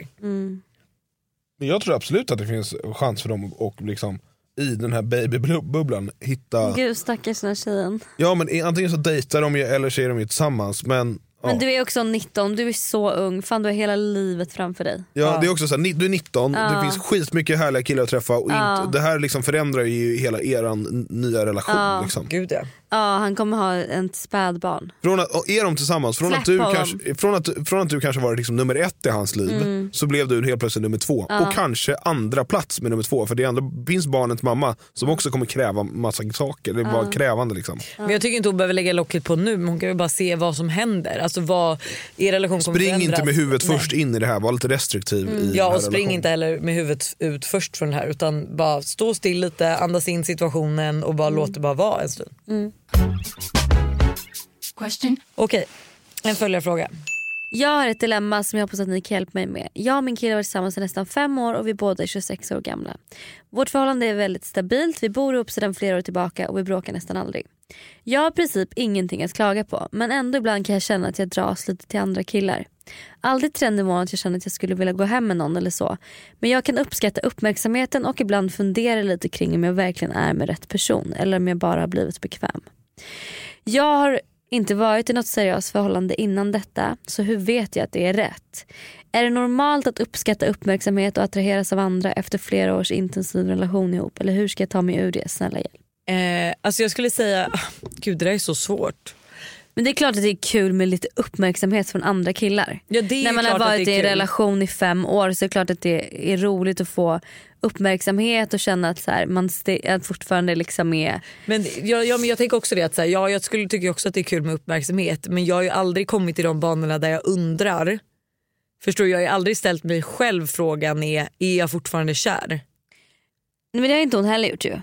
Speaker 2: Men jag tror absolut att det finns chans för dem att och liksom, i den här babybubblan hitta...
Speaker 3: Gud stackars den här tjejen.
Speaker 2: Ja men i- antingen så dejtar de ju eller så är de ju tillsammans men
Speaker 3: Men du är också 19, du är så ung. Fan du har hela livet framför dig.
Speaker 2: Ja, Det är också så här, ni- du är 19,
Speaker 3: Ja.
Speaker 2: det finns skitmycket härliga killar att träffa och
Speaker 3: Ja.
Speaker 2: inte, det här liksom förändrar ju hela eran n- nya relation.
Speaker 3: Ja.
Speaker 2: Liksom.
Speaker 1: Gud, ja.
Speaker 3: Ja, han kommer ha ett spädbarn.
Speaker 2: Från att, och är de tillsammans, från
Speaker 3: Släpp
Speaker 2: att, du
Speaker 3: honom.
Speaker 2: kanske, från, att, från att du kanske var liksom nummer ett i hans liv
Speaker 3: Mm.
Speaker 2: så blev du helt plötsligt nummer två
Speaker 3: Ja.
Speaker 2: och kanske andra plats med nummer två för det andra, finns barnets mamma
Speaker 3: Mm.
Speaker 2: som också kommer kräva massa saker, det
Speaker 1: Ja.
Speaker 2: var krävande liksom.
Speaker 1: Men jag tycker inte hon behöver lägga locket på nu men hon kan ju bara se vad som händer. Alltså vad er relation kommer
Speaker 2: Spring
Speaker 1: förändras.
Speaker 2: inte med huvudet
Speaker 1: Nej. Mm.
Speaker 2: först in i det här, var lite restriktiv i den
Speaker 1: Ja
Speaker 2: här
Speaker 1: och spring
Speaker 2: relationen.
Speaker 1: inte heller med huvudet ut först från det här utan bara stå still lite, andas in situationen och bara låt det bara vara en stund.
Speaker 5: Question?
Speaker 1: Mm. Okej, en följarfråga.
Speaker 3: Jag har ett dilemma som jag hoppas att ni kan hjälpa mig med. Jag och min kille har varit tillsammans i nästan fem år och vi båda är 26 år gamla. Vårt förhållande är väldigt stabilt, vi bor ihop sedan flera år tillbaka och vi bråkar nästan aldrig. Jag har i princip ingenting att klaga på men ändå ibland kan jag känna att jag dras lite till andra killar. Aldrig trend i månaden att jag känner att jag skulle vilja gå hem med någon eller så. Men jag kan uppskatta uppmärksamheten och ibland fundera lite kring om jag verkligen är med rätt person eller om jag bara har blivit bekväm. Jag har inte varit i något seriöst förhållande innan detta så hur vet jag att det är rätt? Är det normalt att uppskatta uppmärksamhet och attraheras av andra efter flera års intensiv relation ihop eller hur ska jag ta mig ur det? Snälla hjälp.
Speaker 1: Eh, alltså jag skulle säga, gud det där är så svårt.
Speaker 3: Men det är klart att det är kul med lite uppmärksamhet från andra killar.
Speaker 1: Ja, det är
Speaker 3: När
Speaker 1: ju
Speaker 3: man har
Speaker 1: klart att
Speaker 3: varit
Speaker 1: det
Speaker 3: i
Speaker 1: är
Speaker 3: en
Speaker 1: kul.
Speaker 3: relation i fem år så är det klart att det är roligt att få uppmärksamhet och känna att så här, man st- att fortfarande liksom är...
Speaker 1: Men jag, ja, men jag tänker också det att så här, ja, jag skulle tycker också att det är kul med uppmärksamhet men jag har ju aldrig kommit i de banorna där jag undrar. Förstår du? Jag har ju aldrig ställt mig själv frågan är, är jag fortfarande kär?
Speaker 3: Nej, Men det har inte hon heller gjort ju.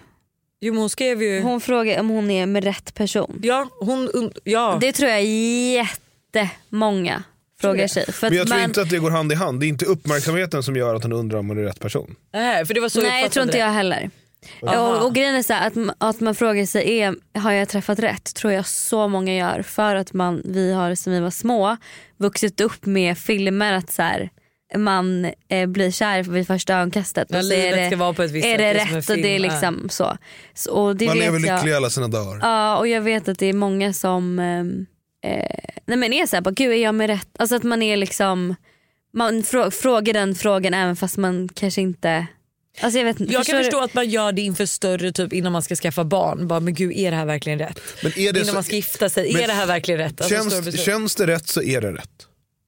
Speaker 1: Jo men hon skrev ju...
Speaker 3: Hon frågar om hon är med rätt person.
Speaker 1: Ja, hon, und- ja.
Speaker 3: Det tror jag är jättemånga frågar sig. För
Speaker 2: Men jag
Speaker 3: att
Speaker 2: tror
Speaker 3: man-
Speaker 2: inte att det går hand i hand, det är inte uppmärksamheten som gör att han undrar om man är rätt person.
Speaker 1: Nej, för det var så
Speaker 3: Nej jag tror inte
Speaker 1: uppfattade
Speaker 3: jag
Speaker 1: det.
Speaker 3: heller.
Speaker 1: Aha.
Speaker 3: Och, och grejen är så här, att, m- att man frågar sig är, har jag träffat rätt? Tror jag så många gör. För att man, vi har sen vi var små vuxit upp med filmer att så här, man eh, blir kär vid första ögonkastet.
Speaker 1: Ja,
Speaker 3: och så
Speaker 1: livet
Speaker 3: är det,
Speaker 1: ska vara på ett visst
Speaker 3: Är
Speaker 1: sätt,
Speaker 3: det
Speaker 1: det är som en
Speaker 3: rätt? Och det är
Speaker 1: film, ja.
Speaker 3: liksom så. så och det
Speaker 2: man
Speaker 3: vet
Speaker 2: lever
Speaker 3: jag-
Speaker 2: lycklig alla sina dagar.
Speaker 3: Ja och jag vet att det är många som eh, eh, nej men är såhär, gud är jag med rätt? Alltså att man är liksom, man frå- frågar den frågan även fast man kanske inte, alltså jag vet inte.
Speaker 1: Jag
Speaker 3: förstår
Speaker 1: kan
Speaker 3: du?
Speaker 1: förstå att man gör det inför större, typ innan man ska skaffa barn. Bara, men gud är det här verkligen rätt?
Speaker 2: Men är det
Speaker 1: innan
Speaker 2: så-
Speaker 1: man ska gifta sig,
Speaker 2: Men
Speaker 1: är det här verkligen rätt? Alltså, större
Speaker 2: känns,
Speaker 1: beslut.
Speaker 2: känns det rätt så är det rätt.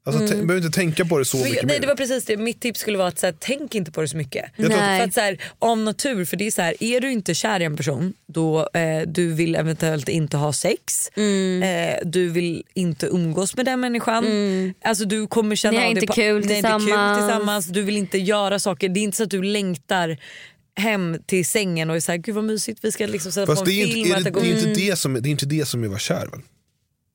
Speaker 2: Alltså,
Speaker 1: Mm.
Speaker 2: mm. behöver inte tänka på det så
Speaker 1: Men
Speaker 2: mycket
Speaker 1: jag, nej,
Speaker 2: mer.
Speaker 1: det var precis det. Mitt tips skulle vara att så här, tänk inte på det så mycket.
Speaker 2: Jag tror- Nej.
Speaker 1: För att, så här, om natur, för det är så här, är du inte kär i en person då eh, du vill eventuellt inte ha sex,
Speaker 2: Mm.
Speaker 1: eh, du vill inte umgås med den människan.
Speaker 2: Mm.
Speaker 1: Alltså du kommer känna
Speaker 3: Ni har
Speaker 1: av
Speaker 3: inte
Speaker 1: det på-
Speaker 3: kul
Speaker 1: Nej, det är
Speaker 3: tillsammans.
Speaker 1: kul tillsammans. Du vill inte göra saker. Det är inte så att du längtar hem till sängen och är såhär, gud vad mysigt vi ska liksom sätta
Speaker 2: Fast
Speaker 1: på
Speaker 2: det
Speaker 1: en
Speaker 2: är, ju
Speaker 1: film.
Speaker 2: inte,
Speaker 1: och
Speaker 2: är, det, det, är
Speaker 1: äta
Speaker 2: ju
Speaker 1: godis."
Speaker 2: inte det, som, det är inte det som är att vara kär väl?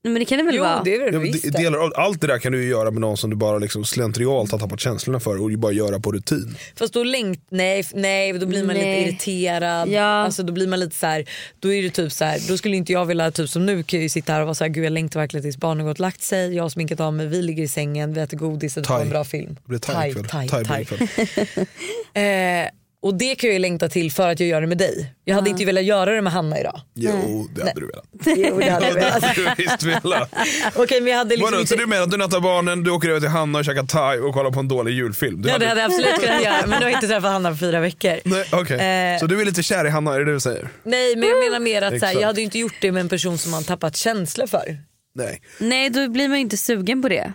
Speaker 3: Men det kan det väl vara?
Speaker 2: Ja, men det- delar av- Allt det där kan du ju göra med någon som du bara liksom slentrialt har tappat känslorna för och ju bara göra på rutin.
Speaker 1: Fast då längt, nej, f- nej då blir man
Speaker 3: Nej.
Speaker 1: lite irriterad. Alltså, då blir man lite så här, då är det typ så här, då skulle inte jag vilja, typ som nu kan jag ju sitta här och vara så här, gud jag längtar verkligen tills barnen gått och lagt sig, jag har sminkat av mig, vi ligger i sängen, vi äter godis och det var en bra film.
Speaker 2: Det blir thai
Speaker 1: Thai,
Speaker 2: ikväll.
Speaker 1: thai,
Speaker 2: Thai blir
Speaker 1: thai.
Speaker 2: ikväll.
Speaker 1: Eh, och det kan jag ju längta till för att jag gör det med dig. Jag hade inte velat göra det med Hanna idag.
Speaker 2: Jo, det hade du velat.
Speaker 1: Jo, det hade jag *laughs* velat.
Speaker 2: Du visst velat.
Speaker 1: Okej men jag hade liksom
Speaker 2: Vadå,
Speaker 1: inte...
Speaker 2: så du menar att du nattar barnen, du åker över till Hanna och käkar thai och kollar på en dålig julfilm? Du
Speaker 1: Ja det hade jag
Speaker 2: *laughs*
Speaker 1: absolut kunnat göra men du har inte träffat Hanna på fyra veckor.
Speaker 2: Nej, okej.
Speaker 1: Eh.
Speaker 2: Så du är lite kär i Hanna, är det det du säger?
Speaker 1: Nej men jag menar mer att så här,
Speaker 2: Exakt.
Speaker 1: jag hade ju inte gjort det med en person som man tappat känsla för.
Speaker 2: Nej.
Speaker 3: Nej då blir man ju inte sugen på det.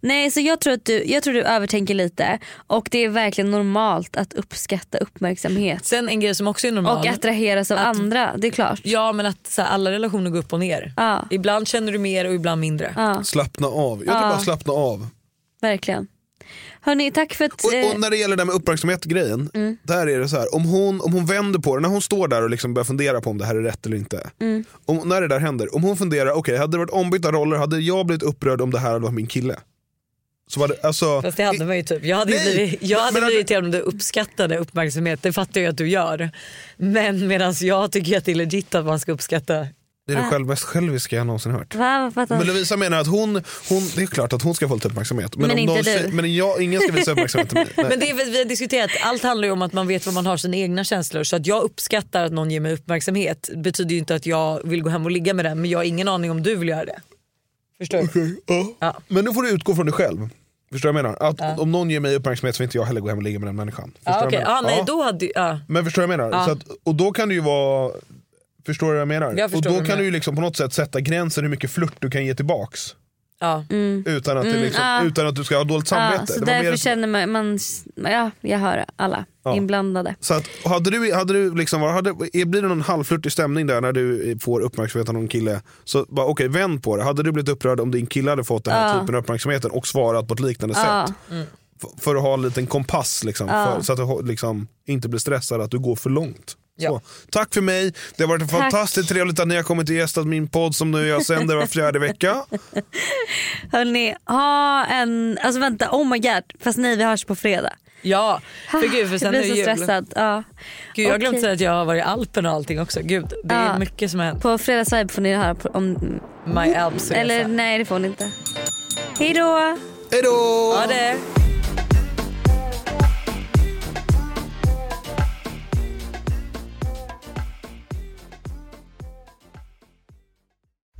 Speaker 3: Nej så jag tror att du, jag tror du övertänker lite och det är verkligen normalt att uppskatta uppmärksamhet.
Speaker 1: Sen en grej som också är normal.
Speaker 3: Och attraheras av andra, det är klart.
Speaker 1: Ja men att så här, alla relationer går upp och ner. Ibland känner du mer och ibland mindre.
Speaker 3: Ja.
Speaker 2: Slappna av. Jag tror
Speaker 3: Ja.
Speaker 2: bara slappna av.
Speaker 3: Verkligen. Hörni tack för att...
Speaker 2: Och,
Speaker 3: eh,
Speaker 2: och när det gäller det här med uppmärksamhet-grejen.
Speaker 3: Mm.
Speaker 2: Där är det så här, om hon, om hon vänder på det, när hon står där och liksom börjar fundera på om det här är rätt eller inte.
Speaker 3: Mm.
Speaker 2: Om, när det där händer, om hon funderar, okej hade det varit ombytta roller, hade jag blivit upprörd om det här hade varit min kille? Så var det, alltså,
Speaker 1: Fast det hade man ju typ. Jag hade, ju
Speaker 2: Nej,
Speaker 1: blivit, jag hade
Speaker 2: men hade-
Speaker 1: blivit irriterad om du uppskattade uppmärksamhet. Det fattar jag att du gör. Men medan jag tycker ju att det är legit att man ska uppskatta.
Speaker 2: det är det själv, mest själviska jag någonsin hört.
Speaker 3: Va, vad fattar
Speaker 2: Men
Speaker 3: du?
Speaker 2: Lovisa menar att hon, hon, det är klart att hon ska få lite uppmärksamhet. Men,
Speaker 3: Men
Speaker 2: om
Speaker 3: inte
Speaker 2: någon,
Speaker 3: du.
Speaker 2: tjej- Men jag, ingen ska visa uppmärksamhet till mig. Nej.
Speaker 1: *laughs* Men det är, väl- vi har diskuterat, allt handlar ju om att man vet vad man har sina egna känslor. Så att jag uppskattar att någon ger mig uppmärksamhet betyder ju inte att jag vill gå hem och ligga med den men jag har ingen aning om du vill göra det. Förstår du?
Speaker 2: Ja. Men då får du utgå från dig själv. Förstår du vad jag menar? Att
Speaker 1: Ja.
Speaker 2: Om någon ger mig uppmärksamhet så vill inte jag heller gå hem och ligga med den människan. Förstår du
Speaker 1: Ja,
Speaker 2: vad
Speaker 1: Ah, okej.
Speaker 2: jag menar?
Speaker 1: ja, nej,
Speaker 2: Ja.
Speaker 1: då hade, ah, ja.
Speaker 2: Men förstår du vad jag menar?
Speaker 1: Ja.
Speaker 2: Så att, och då kan det ju vara... Förstår du vad jag menar?
Speaker 1: Jag förstår
Speaker 2: och
Speaker 1: vad
Speaker 2: då kan
Speaker 1: du
Speaker 2: du
Speaker 1: menar.
Speaker 2: ju liksom på något sätt sätta gränsen hur mycket flört du kan ge tillbaks.
Speaker 1: Ja.
Speaker 2: Utan att, det
Speaker 3: Mm,
Speaker 2: liksom,
Speaker 3: ja.
Speaker 2: utan att du ska ha dåligt
Speaker 3: Ja,
Speaker 2: samvete.
Speaker 3: så
Speaker 2: Det var
Speaker 3: därför
Speaker 2: mer-
Speaker 3: känner man, man, ja jag hör alla
Speaker 2: Ja.
Speaker 3: inblandade.
Speaker 2: Så att, hade du, hade du liksom, var- hade, blir det någon halvflörtig stämning där när du får uppmärksamhet av någon kille, så bara okej vänd på det. Hade du blivit upprörd om din kille hade fått den här
Speaker 3: Ja.
Speaker 2: typen av uppmärksamheten och svarat på ett liknande
Speaker 3: Ja.
Speaker 2: sätt? F- för att ha en liten kompass liksom,
Speaker 3: Ja.
Speaker 2: för, så att du ho- liksom, inte blir stressad att du går för långt.
Speaker 1: Ja.
Speaker 2: Så. Tack för mig, det har varit
Speaker 3: Tack.
Speaker 2: fantastiskt trevligt att ni har kommit och gästat min podd som nu jag sänder var fjärde vecka.
Speaker 3: Hörni, ha en, alltså vänta, oh my god, fast nej vi hörs på fredag.
Speaker 1: Ja, för gud för
Speaker 3: Jag
Speaker 1: sen
Speaker 3: blir
Speaker 1: är det
Speaker 3: så
Speaker 1: jul.
Speaker 3: stressad. Ja.
Speaker 1: Gud, jag har glömt
Speaker 3: Okej.
Speaker 1: säga att jag har varit i Alperna och allting också. Gud, det är
Speaker 3: Ja.
Speaker 1: mycket som har hänt.
Speaker 3: På fredagsvibe får ni höra på- om...
Speaker 1: My Alps
Speaker 3: Eller nej det får ni inte. Hej då!
Speaker 2: Hej då!
Speaker 1: Ha det!